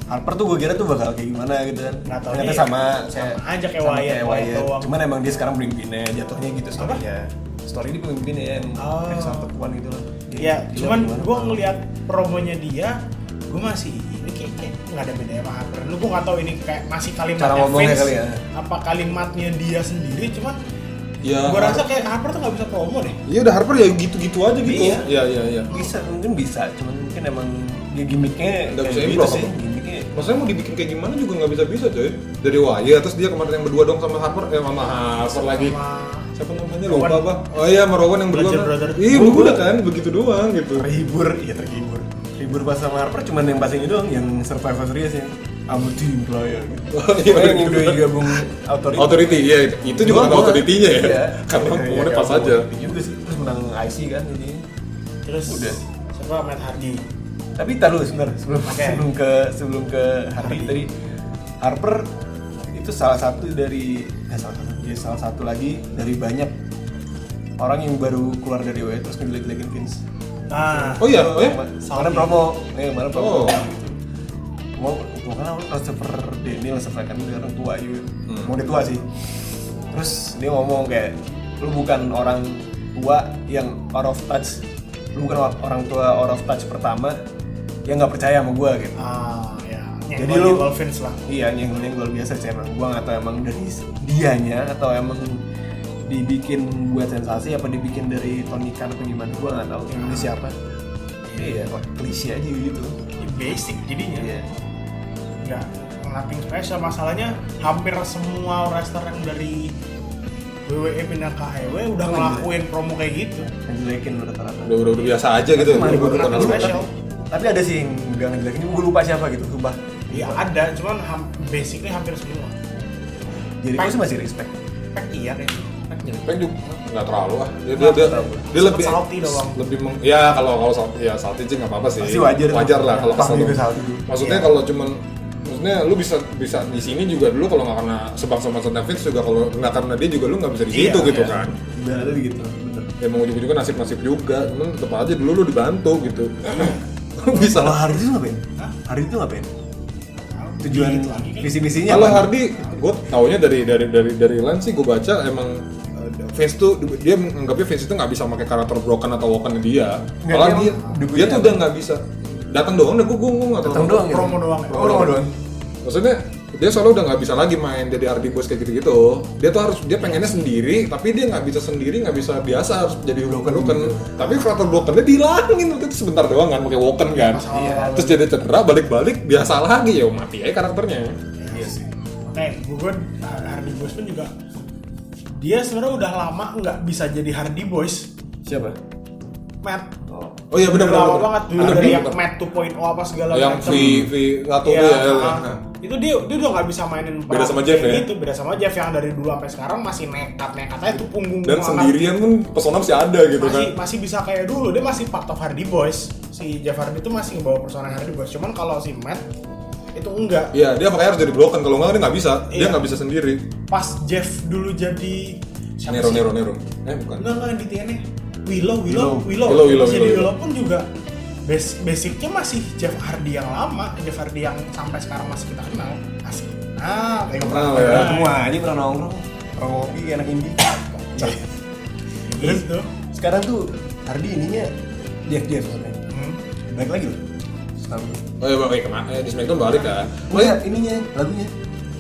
Speaker 4: Harper tuh gue kira tuh bakal kayak gimana gitu kan
Speaker 3: Nggak tahu
Speaker 4: Ternyata
Speaker 3: nih,
Speaker 4: sama
Speaker 3: sama
Speaker 4: kayak-
Speaker 3: aja kayak
Speaker 4: sama
Speaker 3: Wyatt, Wyatt doang.
Speaker 4: cuman emang dia sekarang pemimpinnya jatuhnya gitu storynya story ini pemimpinnya yang
Speaker 3: Oh.
Speaker 4: exalted one gitu loh Dia
Speaker 3: ya
Speaker 4: gila
Speaker 3: cuman
Speaker 4: gimana.
Speaker 3: gue ngeliat promonya dia gue masih ini kayak kayak nggak ada bedanya sama Harper lu gue nggak tahu ini kayak masih kalimatnya
Speaker 4: Cara ngomongnya
Speaker 3: Vince,
Speaker 4: kali ya.
Speaker 3: apa kalimatnya dia sendiri cuman
Speaker 2: ya
Speaker 3: gue rasa kayak Harper tuh nggak bisa promo deh
Speaker 2: iya udah Harper ya gitu gitu aja gitu
Speaker 3: Iya.
Speaker 2: iya iya iya
Speaker 4: bisa mungkin bisa cuman mungkin emang dia gimmicknya
Speaker 2: Nggak bisa
Speaker 4: kayak gitu
Speaker 2: improv.
Speaker 4: sih gimmicknya
Speaker 2: Maksudnya mau dibikin kayak gimana juga nggak bisa-bisa coy Dari Waya, terus dia kemarin yang berdua dong sama Harper Eh sama Harper lagi
Speaker 3: Sama-
Speaker 2: Siapa namanya?
Speaker 3: Rowan.
Speaker 2: Lupa apa? Oh iya sama Rowan yang berdua
Speaker 3: Roger
Speaker 2: kan?
Speaker 3: Brother.
Speaker 2: Iya udah kan, begitu doang gitu
Speaker 4: terhibur iya terhibur terhibur pas sama Harper cuman yang pas ini doang yang Survivor Series yang I'm a team player gitu
Speaker 2: Oh, iya,
Speaker 4: Pokoknya yang
Speaker 2: bener.
Speaker 4: udah digabung Authority
Speaker 2: Authority, iya itu juga ada authority-nya ya
Speaker 4: Iya.
Speaker 2: [LAUGHS] Karena
Speaker 4: Iya,
Speaker 2: pemainnya
Speaker 4: iya,
Speaker 2: pas
Speaker 4: iya,
Speaker 2: aja
Speaker 4: authority juga sih terus menang IC kan jadi
Speaker 3: terus
Speaker 4: Udah.
Speaker 3: siapa Matt Hardy
Speaker 4: tapi tar dulu sebentar sebelum
Speaker 3: Oke.
Speaker 4: sebelum ke sebelum ke Hardy tadi Harper itu salah satu dari eh, salah satu dia salah satu lagi dari banyak orang yang baru keluar dari WWE terus ngejelek-jelekin Vince
Speaker 3: nah
Speaker 2: Oh iya, oh iya
Speaker 4: Kemarin promo, eh kemarin promo.
Speaker 2: Oh.
Speaker 4: Gitu. Mau mau kan awal Christopher Daniel sekarang kan dia orang
Speaker 2: Hmm.
Speaker 4: tua juga. Mau dia tua sih. Terus dia ngomong kayak lu bukan orang tua yang out of touch lu bukan orang tua out of touch pertama yang nggak percaya sama gue gitu
Speaker 3: ah ya
Speaker 4: Jadi lu-
Speaker 3: nyenggol fans lah
Speaker 4: iya nyenggol-nyenggol biasa sih emang gua atau emang dari dianya atau emang dibikin buat sensasi apa dibikin dari Tony Khan atau gimana gua nggak tahu yang ini siapa iya kok klise aja gitu
Speaker 3: Ini Ya, basic jadinya
Speaker 4: iya
Speaker 3: nggak nothing special masalahnya hampir semua restoran dari WWE pindah ke AEW
Speaker 4: Oh,
Speaker 3: udah
Speaker 4: iya.
Speaker 3: ngelakuin promo kayak gitu
Speaker 4: yang jelekin rata-rata
Speaker 2: udah udah, udah biasa aja gitu ya
Speaker 4: Cuma ada
Speaker 2: udah
Speaker 4: beberapa
Speaker 2: terkenal.
Speaker 3: nothing
Speaker 4: juga,
Speaker 3: special
Speaker 4: tapi- tapi ada sih yang nggak ngejelekin gue lupa siapa gitu sumpah
Speaker 3: ya ada cuman ham- basicnya hampir semua
Speaker 4: jadi gue sih masih respect
Speaker 3: Pack iya deh
Speaker 2: Peng juga nggak terlalu ah dia dia, dia, dia lebih
Speaker 3: Salty doang.
Speaker 2: lebih meng, ya kalau kalau salty ya salty sih nggak apa apa sih
Speaker 4: Pasti wajar dong.
Speaker 2: lah kalau
Speaker 4: Pasti
Speaker 2: kesel
Speaker 4: juga
Speaker 2: dong.
Speaker 4: salty dulu.
Speaker 2: maksudnya
Speaker 4: Iya.
Speaker 2: kalau cuman maksudnya lu bisa bisa di sini juga dulu kalau nggak karena sebang sama Netflix juga kalau nggak karena dia juga lu nggak bisa di situ gitu kan
Speaker 4: ibaratnya gitu bener
Speaker 2: ya mau juga nasib nasib juga cuman tetap aja dulu lu dibantu gitu [CLEARS THROAT] bisa
Speaker 4: kalau
Speaker 2: lah
Speaker 4: hari itu ngapain? hari itu ngapain? tujuan
Speaker 3: kan?
Speaker 4: visi-visinya
Speaker 2: Kalau
Speaker 4: apa?
Speaker 2: Iya, Hardi, gue taunya dari dari dari dari Lan sih gue baca emang uh, Vince tuh dia menganggapnya Vince itu nggak bisa pakai karakter broken atau woken dia.
Speaker 4: Nggak,
Speaker 2: Malah
Speaker 4: dia-
Speaker 2: dia dia tuh
Speaker 4: dia-
Speaker 2: udah nggak bisa datang doang deh gue gue nggak tahu.
Speaker 4: Datang doang gitu.
Speaker 3: Promo doang.
Speaker 4: Oh, promo doang.
Speaker 2: Maksudnya dia soalnya udah nggak bisa lagi main jadi Hardy Boys kayak gitu-gitu. Dia tuh harus dia pengennya sendiri, tapi dia nggak bisa sendiri, nggak bisa biasa harus jadi broken. broken.
Speaker 4: Iya.
Speaker 2: Tapi karakter brokennya dihilangin waktu itu sebentar doang kan, pakai woken kan.
Speaker 4: Iya,
Speaker 2: Terus jadi cedera balik-balik biasa lagi ya mati aja karakternya.
Speaker 4: Iya sih.
Speaker 3: Nah, gue Hardy Boys pun juga dia sebenarnya udah lama nggak bisa jadi Hardy Boys.
Speaker 4: Siapa?
Speaker 3: Matt
Speaker 4: Oh.
Speaker 2: Oh iya benar
Speaker 3: udah lama
Speaker 2: benar.
Speaker 3: banget dulu
Speaker 2: Ada
Speaker 3: dari
Speaker 2: di-
Speaker 3: yang Matt 2.0 apa segala
Speaker 2: Oh, yang
Speaker 3: macam.
Speaker 2: V V satu
Speaker 3: Iya,
Speaker 2: tuh ya.
Speaker 3: ah. itu dia dia udah nggak bisa mainin peran
Speaker 2: sama Jeff
Speaker 3: kayak
Speaker 2: ya?
Speaker 3: gitu beda sama Jeff yang dari dulu sampai sekarang masih nekat nekat aja tuh punggung
Speaker 2: Dan
Speaker 3: doang.
Speaker 2: sendirian pun pesona masih ada gitu
Speaker 3: masih
Speaker 2: kan.
Speaker 3: masih bisa kayak dulu dia masih part of Hardy Boys si Jeff Hardy itu masih bawa persona Hardy Boys cuman kalau si Matt itu enggak
Speaker 2: Iya, dia makanya harus jadi broken kalau enggak dia nggak bisa. Dia
Speaker 3: Iya.
Speaker 2: nggak bisa sendiri.
Speaker 3: pas Jeff dulu jadi siapa
Speaker 2: Nero
Speaker 3: sih?
Speaker 2: Nero Nero. Eh bukan.
Speaker 3: Enggak enggak yang di TN -nya. Willow Willow Willow
Speaker 2: Willow, Willow,
Speaker 3: Jadi
Speaker 2: Willow.
Speaker 3: Willow pun juga bas- basicnya masih Jeff Hardy yang lama, Jeff Hardy yang sampai sekarang masih kita kenal. Asik. Nah, tengok
Speaker 2: Kenal
Speaker 3: pernah
Speaker 2: ya.
Speaker 4: Semua aja pernah nongkrong. Orang ngopi kayak anak indie. Iya. Terus
Speaker 3: Gitu.
Speaker 4: sekarang tuh Hardi ininya Jeff Jeff sebenarnya.
Speaker 3: Hmm.
Speaker 4: Baik lagi loh. Setahu gue.
Speaker 2: Oh iya, baik kemana? Eh, di Smackdown balik kan. Oh
Speaker 4: Iya,
Speaker 2: iya,
Speaker 4: ininya lagunya.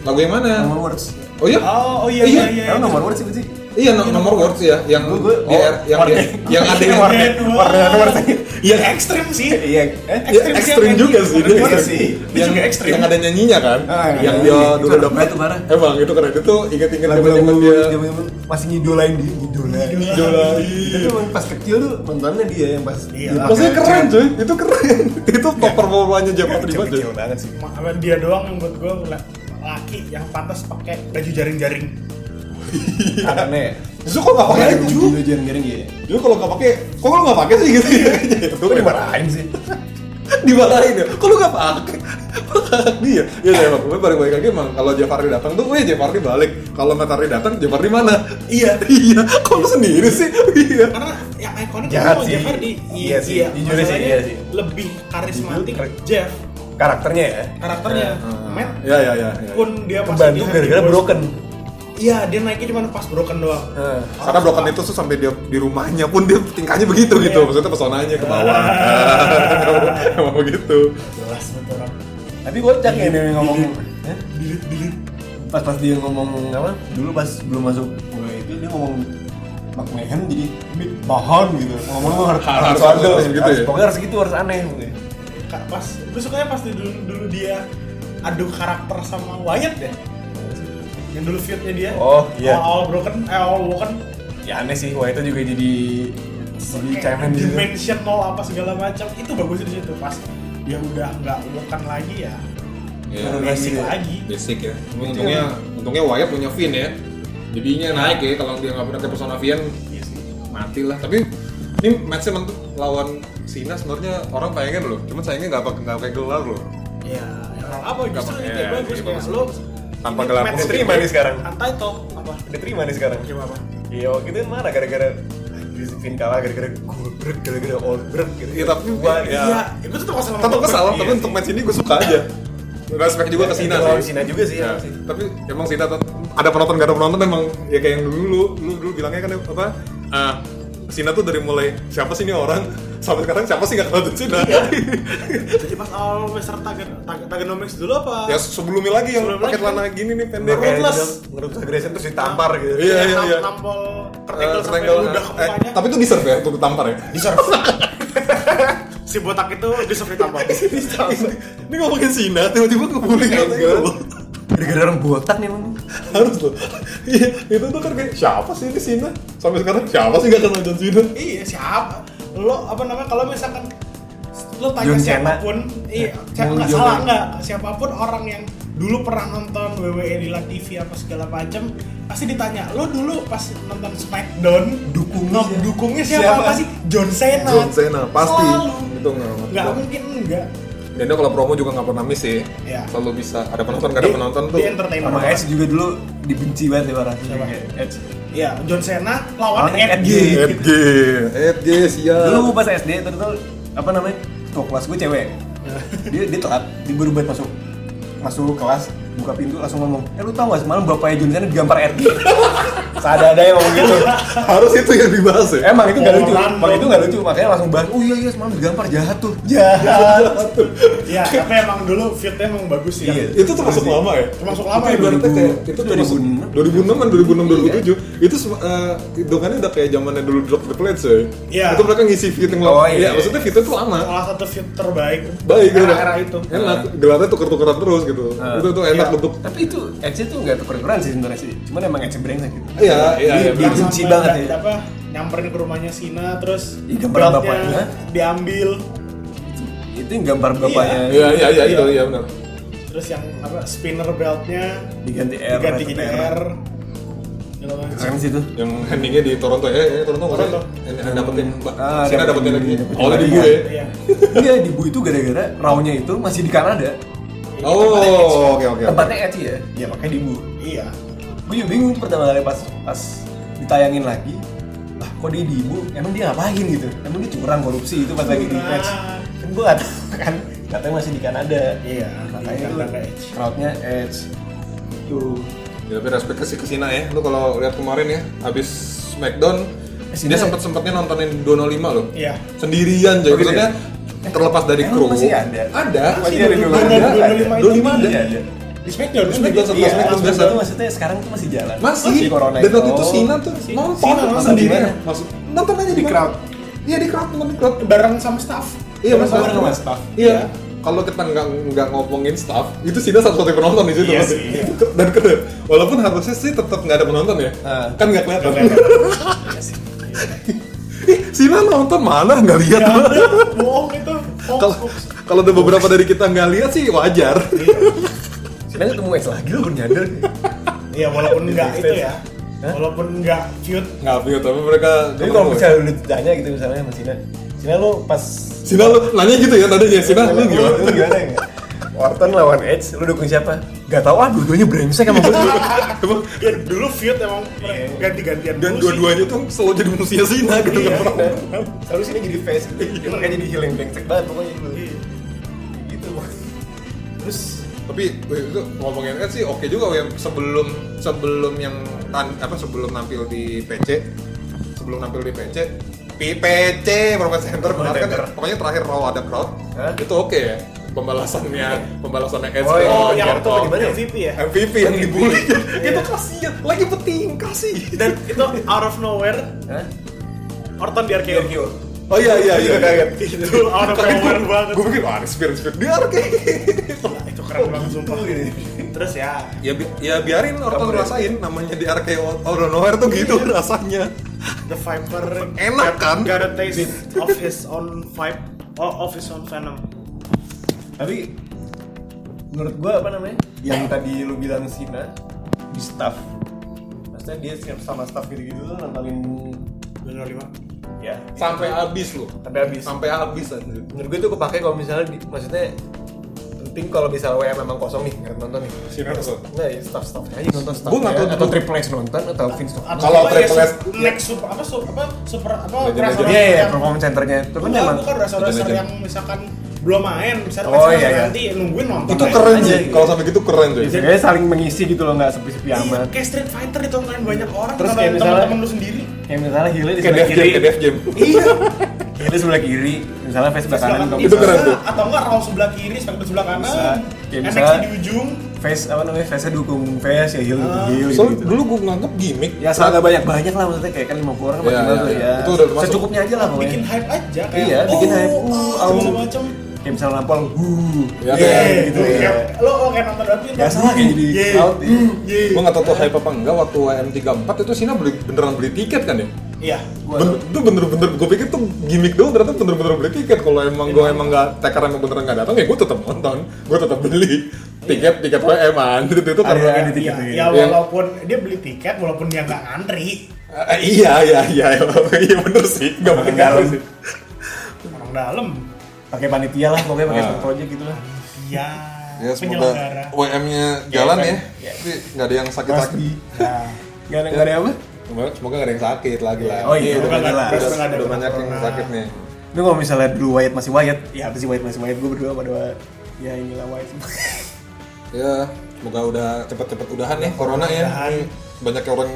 Speaker 2: lagu yang mana?
Speaker 4: Nomor words.
Speaker 2: Oh iya,
Speaker 3: Oh, oh iya
Speaker 2: Iya,
Speaker 3: iya iya.
Speaker 4: Emang nomor words sih sih.
Speaker 2: iya no- nomor words ya, yang
Speaker 4: Gua- gua-
Speaker 2: di R- yang
Speaker 4: warnet.
Speaker 2: di- yang
Speaker 3: [LAUGHS]
Speaker 2: ada yang
Speaker 4: Warnet. Iya. warna nomor sih.
Speaker 3: Iya, Yang ekstrim sih.
Speaker 4: Iya. Eh,
Speaker 2: Ya,
Speaker 3: Ekstrim sih,
Speaker 2: ekstrim
Speaker 3: yang
Speaker 2: juga
Speaker 3: di-
Speaker 2: sih
Speaker 3: warnet
Speaker 2: dia.
Speaker 4: sih.
Speaker 3: Dia
Speaker 2: Yang
Speaker 3: juga ekstrim.
Speaker 2: yang ada nyanyinya kan?
Speaker 4: Ah, yang
Speaker 2: Yang
Speaker 4: ada
Speaker 2: dia
Speaker 4: nyanyi.
Speaker 2: dulu
Speaker 4: Itu
Speaker 2: dapat.
Speaker 4: itu parah.
Speaker 2: Emang itu keren itu inget-inget
Speaker 4: lagu-lagu
Speaker 2: zaman-zaman dia.
Speaker 4: zaman masih ngidolain dia, ngidolain.
Speaker 2: Ngidolain.
Speaker 4: Itu emang pas kecil tuh nontonnya dia yang pas.
Speaker 3: Iya,
Speaker 4: dia
Speaker 2: Maksudnya
Speaker 4: pakai
Speaker 2: keren cuy, itu keren. [LAUGHS] itu performanya Japan
Speaker 4: kecil,
Speaker 2: Prima cuy.
Speaker 4: kecil banget sih.
Speaker 3: Ma- dia doang yang buat gue laki yang pantas pakai baju jaring-jaring.
Speaker 4: Karena ya.
Speaker 2: Justru kok nggak pakai baju?
Speaker 4: jangan garing ya.
Speaker 2: Justru kalau nggak pakai, kok lu nggak pakai sih gitu? Itu
Speaker 4: Gue kan dimarahin sih.
Speaker 2: dimarahin ya. Kok lu nggak pakai? Dia, ya saya emang gue balik balik lagi emang kalau Jafardi datang tuh, weh Jafardi balik. Kalau Matahari datang, Jafardi mana? Iya, iya. Kok lu sendiri sih? Iya.
Speaker 3: Karena yang ikonik
Speaker 4: Jahat
Speaker 3: itu
Speaker 4: sih.
Speaker 3: Jeff Hardy.
Speaker 4: Iya sih, jujur sih,
Speaker 3: masalahnya
Speaker 4: iya sih.
Speaker 3: Lebih karismatik
Speaker 4: Jujur,
Speaker 3: Jeff
Speaker 4: Karakternya ya.
Speaker 3: karakternya. Matt
Speaker 2: Ya ya ya. ya.
Speaker 3: pun dia masih di
Speaker 4: Kebantu
Speaker 3: Hardy
Speaker 4: gara-gara
Speaker 3: Boys.
Speaker 4: broken.
Speaker 3: Iya, dia naiknya cuma pas broken doang.
Speaker 4: Heeh.
Speaker 2: Karena broken itu tuh sampai dia di rumahnya pun dia tingkahnya begitu gitu. Maksudnya pesonanya ke bawah. gitu. Emang begitu.
Speaker 3: Jelas banget orang.
Speaker 4: Tapi kocak ya dia ngomong. Hah?
Speaker 3: Bilit bilit.
Speaker 4: Pas pas dia ngomong apa? Dulu pas belum masuk gue itu dia ngomong McMahon jadi mid bahan gitu. Ngomong lu harus
Speaker 2: Harus- harus-
Speaker 4: harus ada,
Speaker 2: harus gitu
Speaker 4: harus-
Speaker 2: ya?
Speaker 4: Pokoknya harus gitu harus aneh. gitu.
Speaker 3: Kak pas, gue sukanya pas dulu, dulu dia adu karakter sama Wyatt deh. Yang dulu feudnya dia.
Speaker 4: Oh, iya.
Speaker 3: Awal, awal broken, eh, awal broken.
Speaker 4: Ya aneh sih, wah itu juga jadi jadi
Speaker 3: kayak
Speaker 4: cemen gitu.
Speaker 3: Dimension nol apa segala macam itu bagus di situ pas dia udah nggak woken lagi ya
Speaker 4: Iya.
Speaker 3: basic
Speaker 4: Iya.
Speaker 3: lagi
Speaker 2: basic ya. Cuma untungnya untungnya Wyatt punya Vin ya. Jadinya naik ya kalau dia nggak pernah ke persona Vin
Speaker 3: Iya sih.
Speaker 2: mati lah. Tapi ini match emang tuh lawan Sina sebenarnya orang pengen loh. Cuman sayangnya nggak pakai nggak pakai gelar loh. Iya,
Speaker 3: ya ya, apa justru
Speaker 2: Gampang,
Speaker 3: itu
Speaker 2: iya,
Speaker 3: yang bagus
Speaker 2: iya,
Speaker 3: kayak
Speaker 2: bagus.
Speaker 3: lo
Speaker 2: Tanpa gelar ya. pun
Speaker 4: diterima nih sekarang.
Speaker 3: untitled apa
Speaker 4: Diterima nih sekarang.
Speaker 3: terima apa
Speaker 4: Iya, waktu itu marah gara-gara Josephine kalah gara-gara gobrek, gara-gara obrek gitu.
Speaker 2: Iya, tapi-
Speaker 4: Wah,
Speaker 2: Ya.
Speaker 3: iya itu tetap masalah
Speaker 2: Tetap kesal, tapi
Speaker 4: iya
Speaker 2: untuk match ini gue suka aja. Respect juga ke Sina
Speaker 4: Lawan
Speaker 2: sih.
Speaker 4: Sina juga sih,
Speaker 2: Ya,
Speaker 4: emang sih.
Speaker 2: tapi emang Sina tetap ada penonton gak ada penonton emang ya kayak yang dulu lu, lu dulu bilangnya kan apa? eh, Cina tuh dari mulai siapa sih ini orang sampai sekarang siapa sih nggak kenal tuh Cina
Speaker 3: Jadi pas awal Mr. Tagen- Tag- Tagenomics dulu apa?
Speaker 2: [LAUGHS] ya sebelumnya lagi yang
Speaker 3: Sebelum
Speaker 2: pakai
Speaker 3: lagi.
Speaker 2: celana gini nih pendek
Speaker 4: Makanya
Speaker 3: Ruthless.
Speaker 4: dia ngerubah aggression terus ditampar gitu.
Speaker 2: Iya, iya,
Speaker 3: nam-
Speaker 2: iya.
Speaker 3: Nampol
Speaker 2: Eh,
Speaker 3: kertengel sampai
Speaker 2: kerengkel. Eh,
Speaker 3: udah kepalanya.
Speaker 2: tapi itu deserve ya untuk ditampar ya [LAUGHS]
Speaker 3: si botak itu disertai
Speaker 2: [LAUGHS]
Speaker 3: tambah.
Speaker 2: ini ngomongin Cina tiba-tiba kebuli
Speaker 4: Enggak. Gara-gara orang botak nih emang.
Speaker 2: harus loh iya itu tuh kan kayak siapa sih ini Cina sampai sekarang siapa sih nggak kenal John Cena
Speaker 3: iya siapa? Lo apa namanya kalau misalkan lo tanya
Speaker 4: John Cena.
Speaker 3: siapapun, iya, siapa
Speaker 4: Mau
Speaker 3: nggak
Speaker 4: John
Speaker 3: salah
Speaker 4: Cena.
Speaker 3: nggak siapapun orang yang dulu pernah nonton WWE di La TV apa segala macam pasti ditanya lo dulu pas nonton Smackdown
Speaker 4: Dukungnya
Speaker 3: dukung
Speaker 4: siapa?
Speaker 3: dukungnya siapa,
Speaker 4: Siapa?
Speaker 3: pasti John Cena
Speaker 2: John Cena pasti
Speaker 3: Selalu.
Speaker 2: itu nggak mati
Speaker 3: nggak
Speaker 2: gua.
Speaker 3: mungkin enggak
Speaker 2: dan dia kalau promo juga nggak pernah miss sih
Speaker 3: Iya.
Speaker 2: selalu bisa ada penonton nggak ada
Speaker 3: Di-
Speaker 2: penonton tuh
Speaker 3: di entertainment
Speaker 4: Sama
Speaker 3: banget.
Speaker 4: Edge juga dulu dibenci banget ya orang.
Speaker 3: Siapa?
Speaker 4: Edge.
Speaker 3: Iya, John Cena lawan
Speaker 4: Lawan
Speaker 3: Edge.
Speaker 4: Edge.
Speaker 2: FG FG siap
Speaker 4: Dulu gua pas SD terus tuh, apa namanya? Ketua kelas gue cewek. Dia dia telat, dia baru banget masuk masuk kelas buka pintu langsung ngomong eh lu tau gak semalam bapaknya John Cena digampar Edge seada-ada yang ngomong gitu
Speaker 2: harus itu yang dibahas ya
Speaker 4: emang itu gak lucu
Speaker 3: Orang
Speaker 4: emang itu gak lucu makanya langsung bahas oh iya iya semalam digampar jahat tuh jahat
Speaker 3: Iya, tapi emang dulu fitnya emang bagus sih.
Speaker 4: Iya.
Speaker 2: itu termasuk lama ya
Speaker 3: Termasuk lama
Speaker 2: itu
Speaker 3: ya,
Speaker 2: ibaratnya
Speaker 4: 2000.
Speaker 2: kayak itu termasuk
Speaker 4: 2006.
Speaker 2: 2006 an 2006 2007 itu sem- eh, hitungannya udah kayak zamannya dulu drop the plates ya
Speaker 3: Iya.
Speaker 2: itu mereka ngisi fitting lama
Speaker 4: Oh,
Speaker 2: ya
Speaker 4: iya.
Speaker 2: maksudnya fitnya tuh lama
Speaker 3: Salah satu fit terbaik
Speaker 2: baik gitu
Speaker 3: era-era itu.
Speaker 2: enak gelarnya tuker-tukeran terus gitu itu tuh enak
Speaker 4: Iya.
Speaker 2: bentuk
Speaker 4: tapi itu Edge itu nggak tuker-tukeran sih sebenarnya sih cuman emang Edge brengsek gitu
Speaker 2: iya iya
Speaker 4: Dia-
Speaker 2: iya
Speaker 4: dia
Speaker 2: benar.
Speaker 4: benci
Speaker 3: Sampai
Speaker 4: banget
Speaker 3: ada-
Speaker 4: ya.
Speaker 3: Apa nyamperin ke rumahnya Sina terus
Speaker 4: Ih,
Speaker 3: beltnya
Speaker 4: gambar bapaknya.
Speaker 3: diambil
Speaker 4: itu yang gambar bapaknya
Speaker 2: iya iya iya itu iya benar
Speaker 3: terus yang apa spinner beltnya
Speaker 4: diganti R
Speaker 3: diganti
Speaker 4: atau
Speaker 3: gini
Speaker 4: PR.
Speaker 3: R. Gitu kan. Segala macam.
Speaker 4: keren sih itu
Speaker 2: yang endingnya di Toronto ya, ya Toronto nggak
Speaker 3: Toronto.
Speaker 2: sih? Yang- yang dapetin mbak
Speaker 4: Ah,
Speaker 2: Cina dapetin
Speaker 4: dapetin-
Speaker 2: lagi
Speaker 4: dapetin
Speaker 2: awalnya di
Speaker 4: lagi,
Speaker 2: gue
Speaker 4: ya.
Speaker 3: Iya.
Speaker 4: iya di Bu itu gara-gara rawnya itu masih di Kanada
Speaker 2: oh oke oke oke.
Speaker 4: tempatnya Edge ya ya makanya di Bu
Speaker 3: Iya.
Speaker 4: gue juga Oh bingung pertama kali pas pas ditayangin lagi lah kok dia di ibu emang dia ngapain gitu emang dia curang korupsi itu pas lagi di
Speaker 3: Curang.
Speaker 4: match kan gue gak tau [LAUGHS] kan katanya masih di Kanada
Speaker 3: Iya,
Speaker 4: makanya
Speaker 3: di
Speaker 4: itu
Speaker 3: Kanada Edge.
Speaker 4: crowdnya edge itu
Speaker 2: ya, tapi respect ke si ke Cina ya lu kalau lihat kemarin ya abis Smackdown
Speaker 4: Cina-
Speaker 2: dia sempet sempetnya nontonin Dono 5 loh
Speaker 3: Iya.
Speaker 2: sendirian jadi
Speaker 4: Oh, gitu
Speaker 2: maksudnya terlepas dari
Speaker 4: Emang
Speaker 2: kru
Speaker 4: masih ada?
Speaker 2: ada
Speaker 4: Masih
Speaker 2: ada
Speaker 4: ada
Speaker 2: Dono
Speaker 4: Dono lima.
Speaker 2: ada Dono 5 ada
Speaker 4: Iya, ada.
Speaker 3: Di Smackdown
Speaker 2: Di
Speaker 3: kan
Speaker 2: Smackdown
Speaker 3: dia-
Speaker 2: sama
Speaker 4: iya
Speaker 2: Smackdown
Speaker 4: terus
Speaker 2: biasa.
Speaker 4: itu maksudnya sekarang tuh masih jalan
Speaker 2: masih
Speaker 4: Si corona
Speaker 2: dan waktu itu
Speaker 4: oh.
Speaker 2: Sina tuh
Speaker 3: Sina.
Speaker 2: nonton
Speaker 3: Sina nonton
Speaker 2: sendirian
Speaker 4: di mana?
Speaker 2: maksud nonton aja di
Speaker 4: Di crowd.
Speaker 2: iya di crowd nonton di crowd
Speaker 3: bareng sama staff.
Speaker 2: Iya,
Speaker 4: Sama
Speaker 2: masalah
Speaker 4: sama staff.
Speaker 2: Iya. Kalau kita nggak nggak ngomongin staff, itu Sina satu-satunya penonton di situ.
Speaker 3: Iya
Speaker 2: pasti.
Speaker 3: sih.
Speaker 2: [LAUGHS] Dan keren. Walaupun harusnya sih tetap nggak ada penonton ya.
Speaker 4: Ah.
Speaker 2: Kan nggak kelihatan.
Speaker 3: Iya.
Speaker 4: [LAUGHS]
Speaker 2: Ih, Sina nonton mana nggak lihat.
Speaker 3: Ya, ada. bohong itu. Hoax,
Speaker 2: [LAUGHS] Kalau
Speaker 3: hoax.
Speaker 2: kalau ada beberapa dari kita nggak lihat sih wajar.
Speaker 4: sebenarnya ketemu edge lagi lo baru nyadar
Speaker 3: Iya, walaupun enggak itu
Speaker 4: backstage.
Speaker 3: ya. Walaupun enggak cute.
Speaker 2: Nggak view tapi mereka.
Speaker 4: jadi kalau
Speaker 2: ketemu.
Speaker 4: misalnya lu ditanya gitu misalnya sama Sina Sina lo pas
Speaker 2: Sina lu nanya gitu ya tadinya Sina lu
Speaker 4: Lu
Speaker 2: gimana?
Speaker 4: lu gimana ya? Orton lawan Edge, lu dukung siapa? Gak tau ah, dua-duanya brengsek sama Gitu. gue
Speaker 2: Emang
Speaker 3: Ya dulu feud emang ganti-gantian
Speaker 2: Iya. dan
Speaker 3: dulu sih.
Speaker 2: dua-duanya tuh selalu jadi musuhnya Sina gitu
Speaker 4: Iya,
Speaker 2: nggak pernah.
Speaker 4: Terus ini jadi face gitu Emang kayak jadi healing brengsek banget pokoknya lu
Speaker 3: Iya.
Speaker 4: Gitu Terus
Speaker 2: tapi eh, itu ngomongin Ed sih oke juga yang sebelum sebelum yang tan- apa sebelum nampil di PC sebelum nampil di PC di PC Performance Center benar kan
Speaker 4: Center.
Speaker 2: pokoknya terakhir Raw ada crowd
Speaker 4: Hah?
Speaker 2: itu oke ya pembalasannya pembalasannya Ed
Speaker 4: Oh,
Speaker 2: ke-
Speaker 3: Oh,
Speaker 2: ke
Speaker 3: yang
Speaker 2: Orton.
Speaker 3: waktu
Speaker 4: Jericho.
Speaker 3: di MVP ya.
Speaker 2: MVP yang [LAUGHS] dibully itu kasihan lagi penting kasih
Speaker 3: Dan itu out of nowhere
Speaker 4: Hah?
Speaker 3: Orton di RKO.
Speaker 4: Kyo
Speaker 2: oh iya iya iya
Speaker 4: Kaget.
Speaker 3: Itu out of nowhere banget.
Speaker 2: gue pikir wah ada spirit spirit dia oke
Speaker 3: Wah, Itu keren banget sumpah. Terus ya,
Speaker 2: ya bi- ya biarin Orton
Speaker 4: Kamu ya?
Speaker 2: rasain namanya di RKO Orton Nowhere tuh gitu rasanya
Speaker 3: The Viper
Speaker 2: Enak,
Speaker 3: got-
Speaker 2: kan?
Speaker 3: Got a taste of his own vibe, oh, of his own venom.
Speaker 4: Tapi Menurut gue apa namanya? Yang tadi lu bilang Sina Di staff Maksudnya dia siap sama staff gitu-gitu tuh nontonin
Speaker 3: Benar lima.
Speaker 4: Ya
Speaker 2: sampai habis loh
Speaker 4: Sampai habis
Speaker 2: sampai habis anjir.
Speaker 4: menurut gue itu kepake kalau misalnya di- maksudnya penting kalau misalnya WM memang kosong nih nggak nonton nih
Speaker 2: Sinar nonton.
Speaker 4: nah ya staff staff aja nonton staff ya.
Speaker 2: Gua nggak tahu
Speaker 4: atau
Speaker 2: dulu.
Speaker 4: triple X nonton atau Vince nonton
Speaker 2: Kalau Triple S-
Speaker 3: ya, next super apa super apa super apa
Speaker 2: Legend,
Speaker 3: wrestler
Speaker 2: legend.
Speaker 4: iya iya
Speaker 3: yang-
Speaker 4: performance centernya itu kan
Speaker 3: Enggak,
Speaker 4: emang
Speaker 3: bukan wrestler-wrestler
Speaker 2: Legend,
Speaker 3: yang misalkan belum main, misalnya
Speaker 4: Oh,
Speaker 3: wrestler
Speaker 4: iya, iya.
Speaker 3: nanti nungguin nonton.
Speaker 2: itu
Speaker 3: aja. Iya,
Speaker 2: keren
Speaker 4: aja
Speaker 2: sih
Speaker 4: gitu.
Speaker 2: kalau sampai gitu keren tuh ya.
Speaker 4: biasanya saling mengisi gitu loh nggak sepi-sepi
Speaker 3: Iya,
Speaker 4: amat
Speaker 3: kayak Street Fighter ditontonin banyak orang
Speaker 4: Terus
Speaker 3: sama
Speaker 4: kayak misalnya-
Speaker 3: teman-teman lu sendiri.
Speaker 4: kayak kayak misalnya heelnya di
Speaker 2: Kayak
Speaker 4: sebelah
Speaker 2: Def Jam,
Speaker 4: kiri
Speaker 2: kayak Def Jam.
Speaker 3: iya
Speaker 4: heelnya sebelah kiri misalnya face sebelah kanan
Speaker 3: Sebelah-
Speaker 4: kalau
Speaker 2: Itu
Speaker 4: bisa.
Speaker 2: keren tuh.
Speaker 3: atau enggak roll sebelah kiri sampai sebelah
Speaker 4: Bisa.
Speaker 3: kanan
Speaker 4: Kayak
Speaker 3: efek
Speaker 4: misalnya-
Speaker 3: di ujung
Speaker 4: face apa namanya face nya dukung face ya heel
Speaker 3: Ah.
Speaker 4: dukung heel gitu,
Speaker 2: Iya. Soalnya dulu gue nganggep gimmick.
Speaker 4: ya seragam banyak banyak lah maksudnya kayak kan 50 orang apa
Speaker 2: Iya, iya,
Speaker 4: gimana tuh
Speaker 2: iya.
Speaker 4: ya
Speaker 2: Itu udah termasuk.
Speaker 4: secukupnya aja lah pokoknya
Speaker 3: bikin hype aja kayak
Speaker 4: Iya, bikin
Speaker 3: oh,
Speaker 4: hype.
Speaker 3: oh,
Speaker 4: Au.
Speaker 3: segala macam
Speaker 4: kayak misalnya nampol huh
Speaker 2: Ya,
Speaker 4: yeah,
Speaker 2: kayak
Speaker 4: gitu
Speaker 2: gitu,
Speaker 4: ya
Speaker 3: Kayak- Iya, lo lo kayak nonton Darwin kan? Iya.
Speaker 4: Gak salah kayak jadi
Speaker 3: Yeay.
Speaker 4: out ya.
Speaker 2: Gue gak tau tuh hype apa enggak waktu WM34 itu Sina beli, beneran beli tiket kan ya?
Speaker 3: iya
Speaker 4: Gua-
Speaker 2: Ben, itu bener-bener gue pikir tuh gimmick doang ternyata bener-bener beli tiket kalau emang gue emang nggak tekar emang beneran nggak datang ya gue tetap nonton gue tetap beli tiket tiket WM an itu [LAUGHS] itu
Speaker 4: Ada-
Speaker 2: karena
Speaker 4: ada tiket
Speaker 3: Iya,
Speaker 4: gitu ya.
Speaker 3: ya walaupun dia beli tiket walaupun dia nggak antri
Speaker 2: Eh, iya iya iya [LAUGHS] iya bener sih nggak mungkin nggak
Speaker 4: Dalam.
Speaker 2: sih
Speaker 3: orang dalam
Speaker 4: pakai panitia lah pokoknya pakai
Speaker 2: Nah.
Speaker 4: satu project gitu lah
Speaker 3: iya
Speaker 2: ya semoga
Speaker 3: penyelenggara
Speaker 2: WM nya jalan ya
Speaker 4: Iya.
Speaker 2: tapi nggak ada yang sakit sakit
Speaker 4: Pasti.
Speaker 3: Iya,
Speaker 4: Nah, nggak ada nggak ada apa
Speaker 2: semoga semoga nggak ada yang sakit lagi lah
Speaker 4: Oh,
Speaker 2: udah
Speaker 4: iya, semoga
Speaker 2: banyak
Speaker 4: nggak-
Speaker 2: udah-
Speaker 3: semoga nggak ada
Speaker 2: udah banyak yang
Speaker 3: corona.
Speaker 2: sakit nih
Speaker 4: Tapi kalau misalnya dulu Wyatt masih Wyatt, ya apa sih Wyatt masih Wyatt? Gue berdua pada ya inilah Wyatt.
Speaker 2: ya semoga udah cepet-cepet udahan ya corona ya
Speaker 3: Udahan.
Speaker 2: banyak orang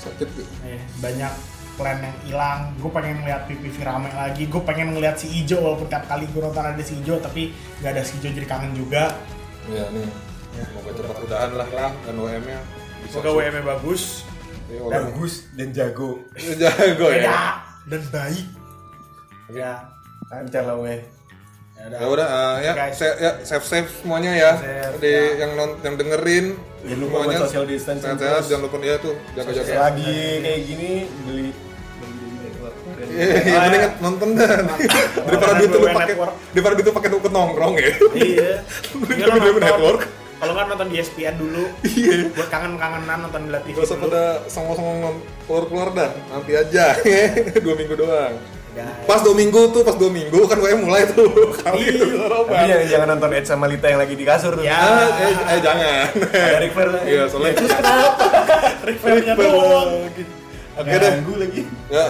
Speaker 2: sakit
Speaker 3: Eh, banyak plan yang hilang gue pengen ngeliat PPV rame lagi gue pengen ngeliat si Ijo walaupun tiap kali gue nonton ada si Ijo tapi nggak ada si Ijo jadi kangen juga
Speaker 2: ya nih semoga cepet udahan lah dan WM nya bisa Iya,
Speaker 3: semoga WM bagus
Speaker 2: Ya,
Speaker 3: [LAUGHS]
Speaker 2: orang-
Speaker 4: dan jago.
Speaker 2: jago ya
Speaker 3: beda dan baik ya
Speaker 4: Lancar lah we.
Speaker 3: ya udah.
Speaker 2: ya udah eh, ya,
Speaker 3: Guys.
Speaker 2: se- ya safe safe semuanya ya
Speaker 3: Safe,
Speaker 2: di
Speaker 3: ya.
Speaker 2: yang non yang dengerin
Speaker 4: Jangan lupa buat social distancing
Speaker 2: sehat sehat
Speaker 4: terus.
Speaker 2: jangan lupa ya tuh jaga jaga
Speaker 4: Lagi kayak gini beli beli beli-
Speaker 2: Iya, iya, mending nonton dah. [LAUGHS] daripada duit lu
Speaker 3: WWE
Speaker 2: pakai
Speaker 3: Network.
Speaker 2: daripada duit lu pakai untuk nongkrong ya.
Speaker 3: iya
Speaker 2: Mending
Speaker 3: Iya, lo
Speaker 2: WWE
Speaker 3: nonton.
Speaker 2: Network.
Speaker 3: kalau nggak nonton di ESPN dulu
Speaker 2: Iya.
Speaker 3: buat kangen-kangenan nonton di TV
Speaker 2: Gak usah
Speaker 3: dulu
Speaker 2: pada songong-songong keluar-keluar dah, nanti aja [LAUGHS] ya. Dua minggu doang
Speaker 3: Iya.
Speaker 2: Pas dua minggu tuh, pas dua minggu kan gue mulai tuh [LAUGHS]
Speaker 3: Iya.
Speaker 2: Kali itu bisa
Speaker 4: Tapi
Speaker 2: roban
Speaker 4: jangan, jangan nonton Ed sama Lita yang lagi di kasur tuh.
Speaker 3: Ya.
Speaker 2: Ah, eh, eh, jangan
Speaker 4: Ada Ric Flair lagi.
Speaker 2: Iya, soalnya itu
Speaker 3: refernya doang
Speaker 2: Oke deh
Speaker 4: Ganggu lagi.
Speaker 2: Ya,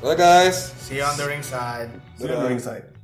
Speaker 3: Nah,
Speaker 2: bye guys
Speaker 3: see you on the ringside
Speaker 4: Sudah ringside.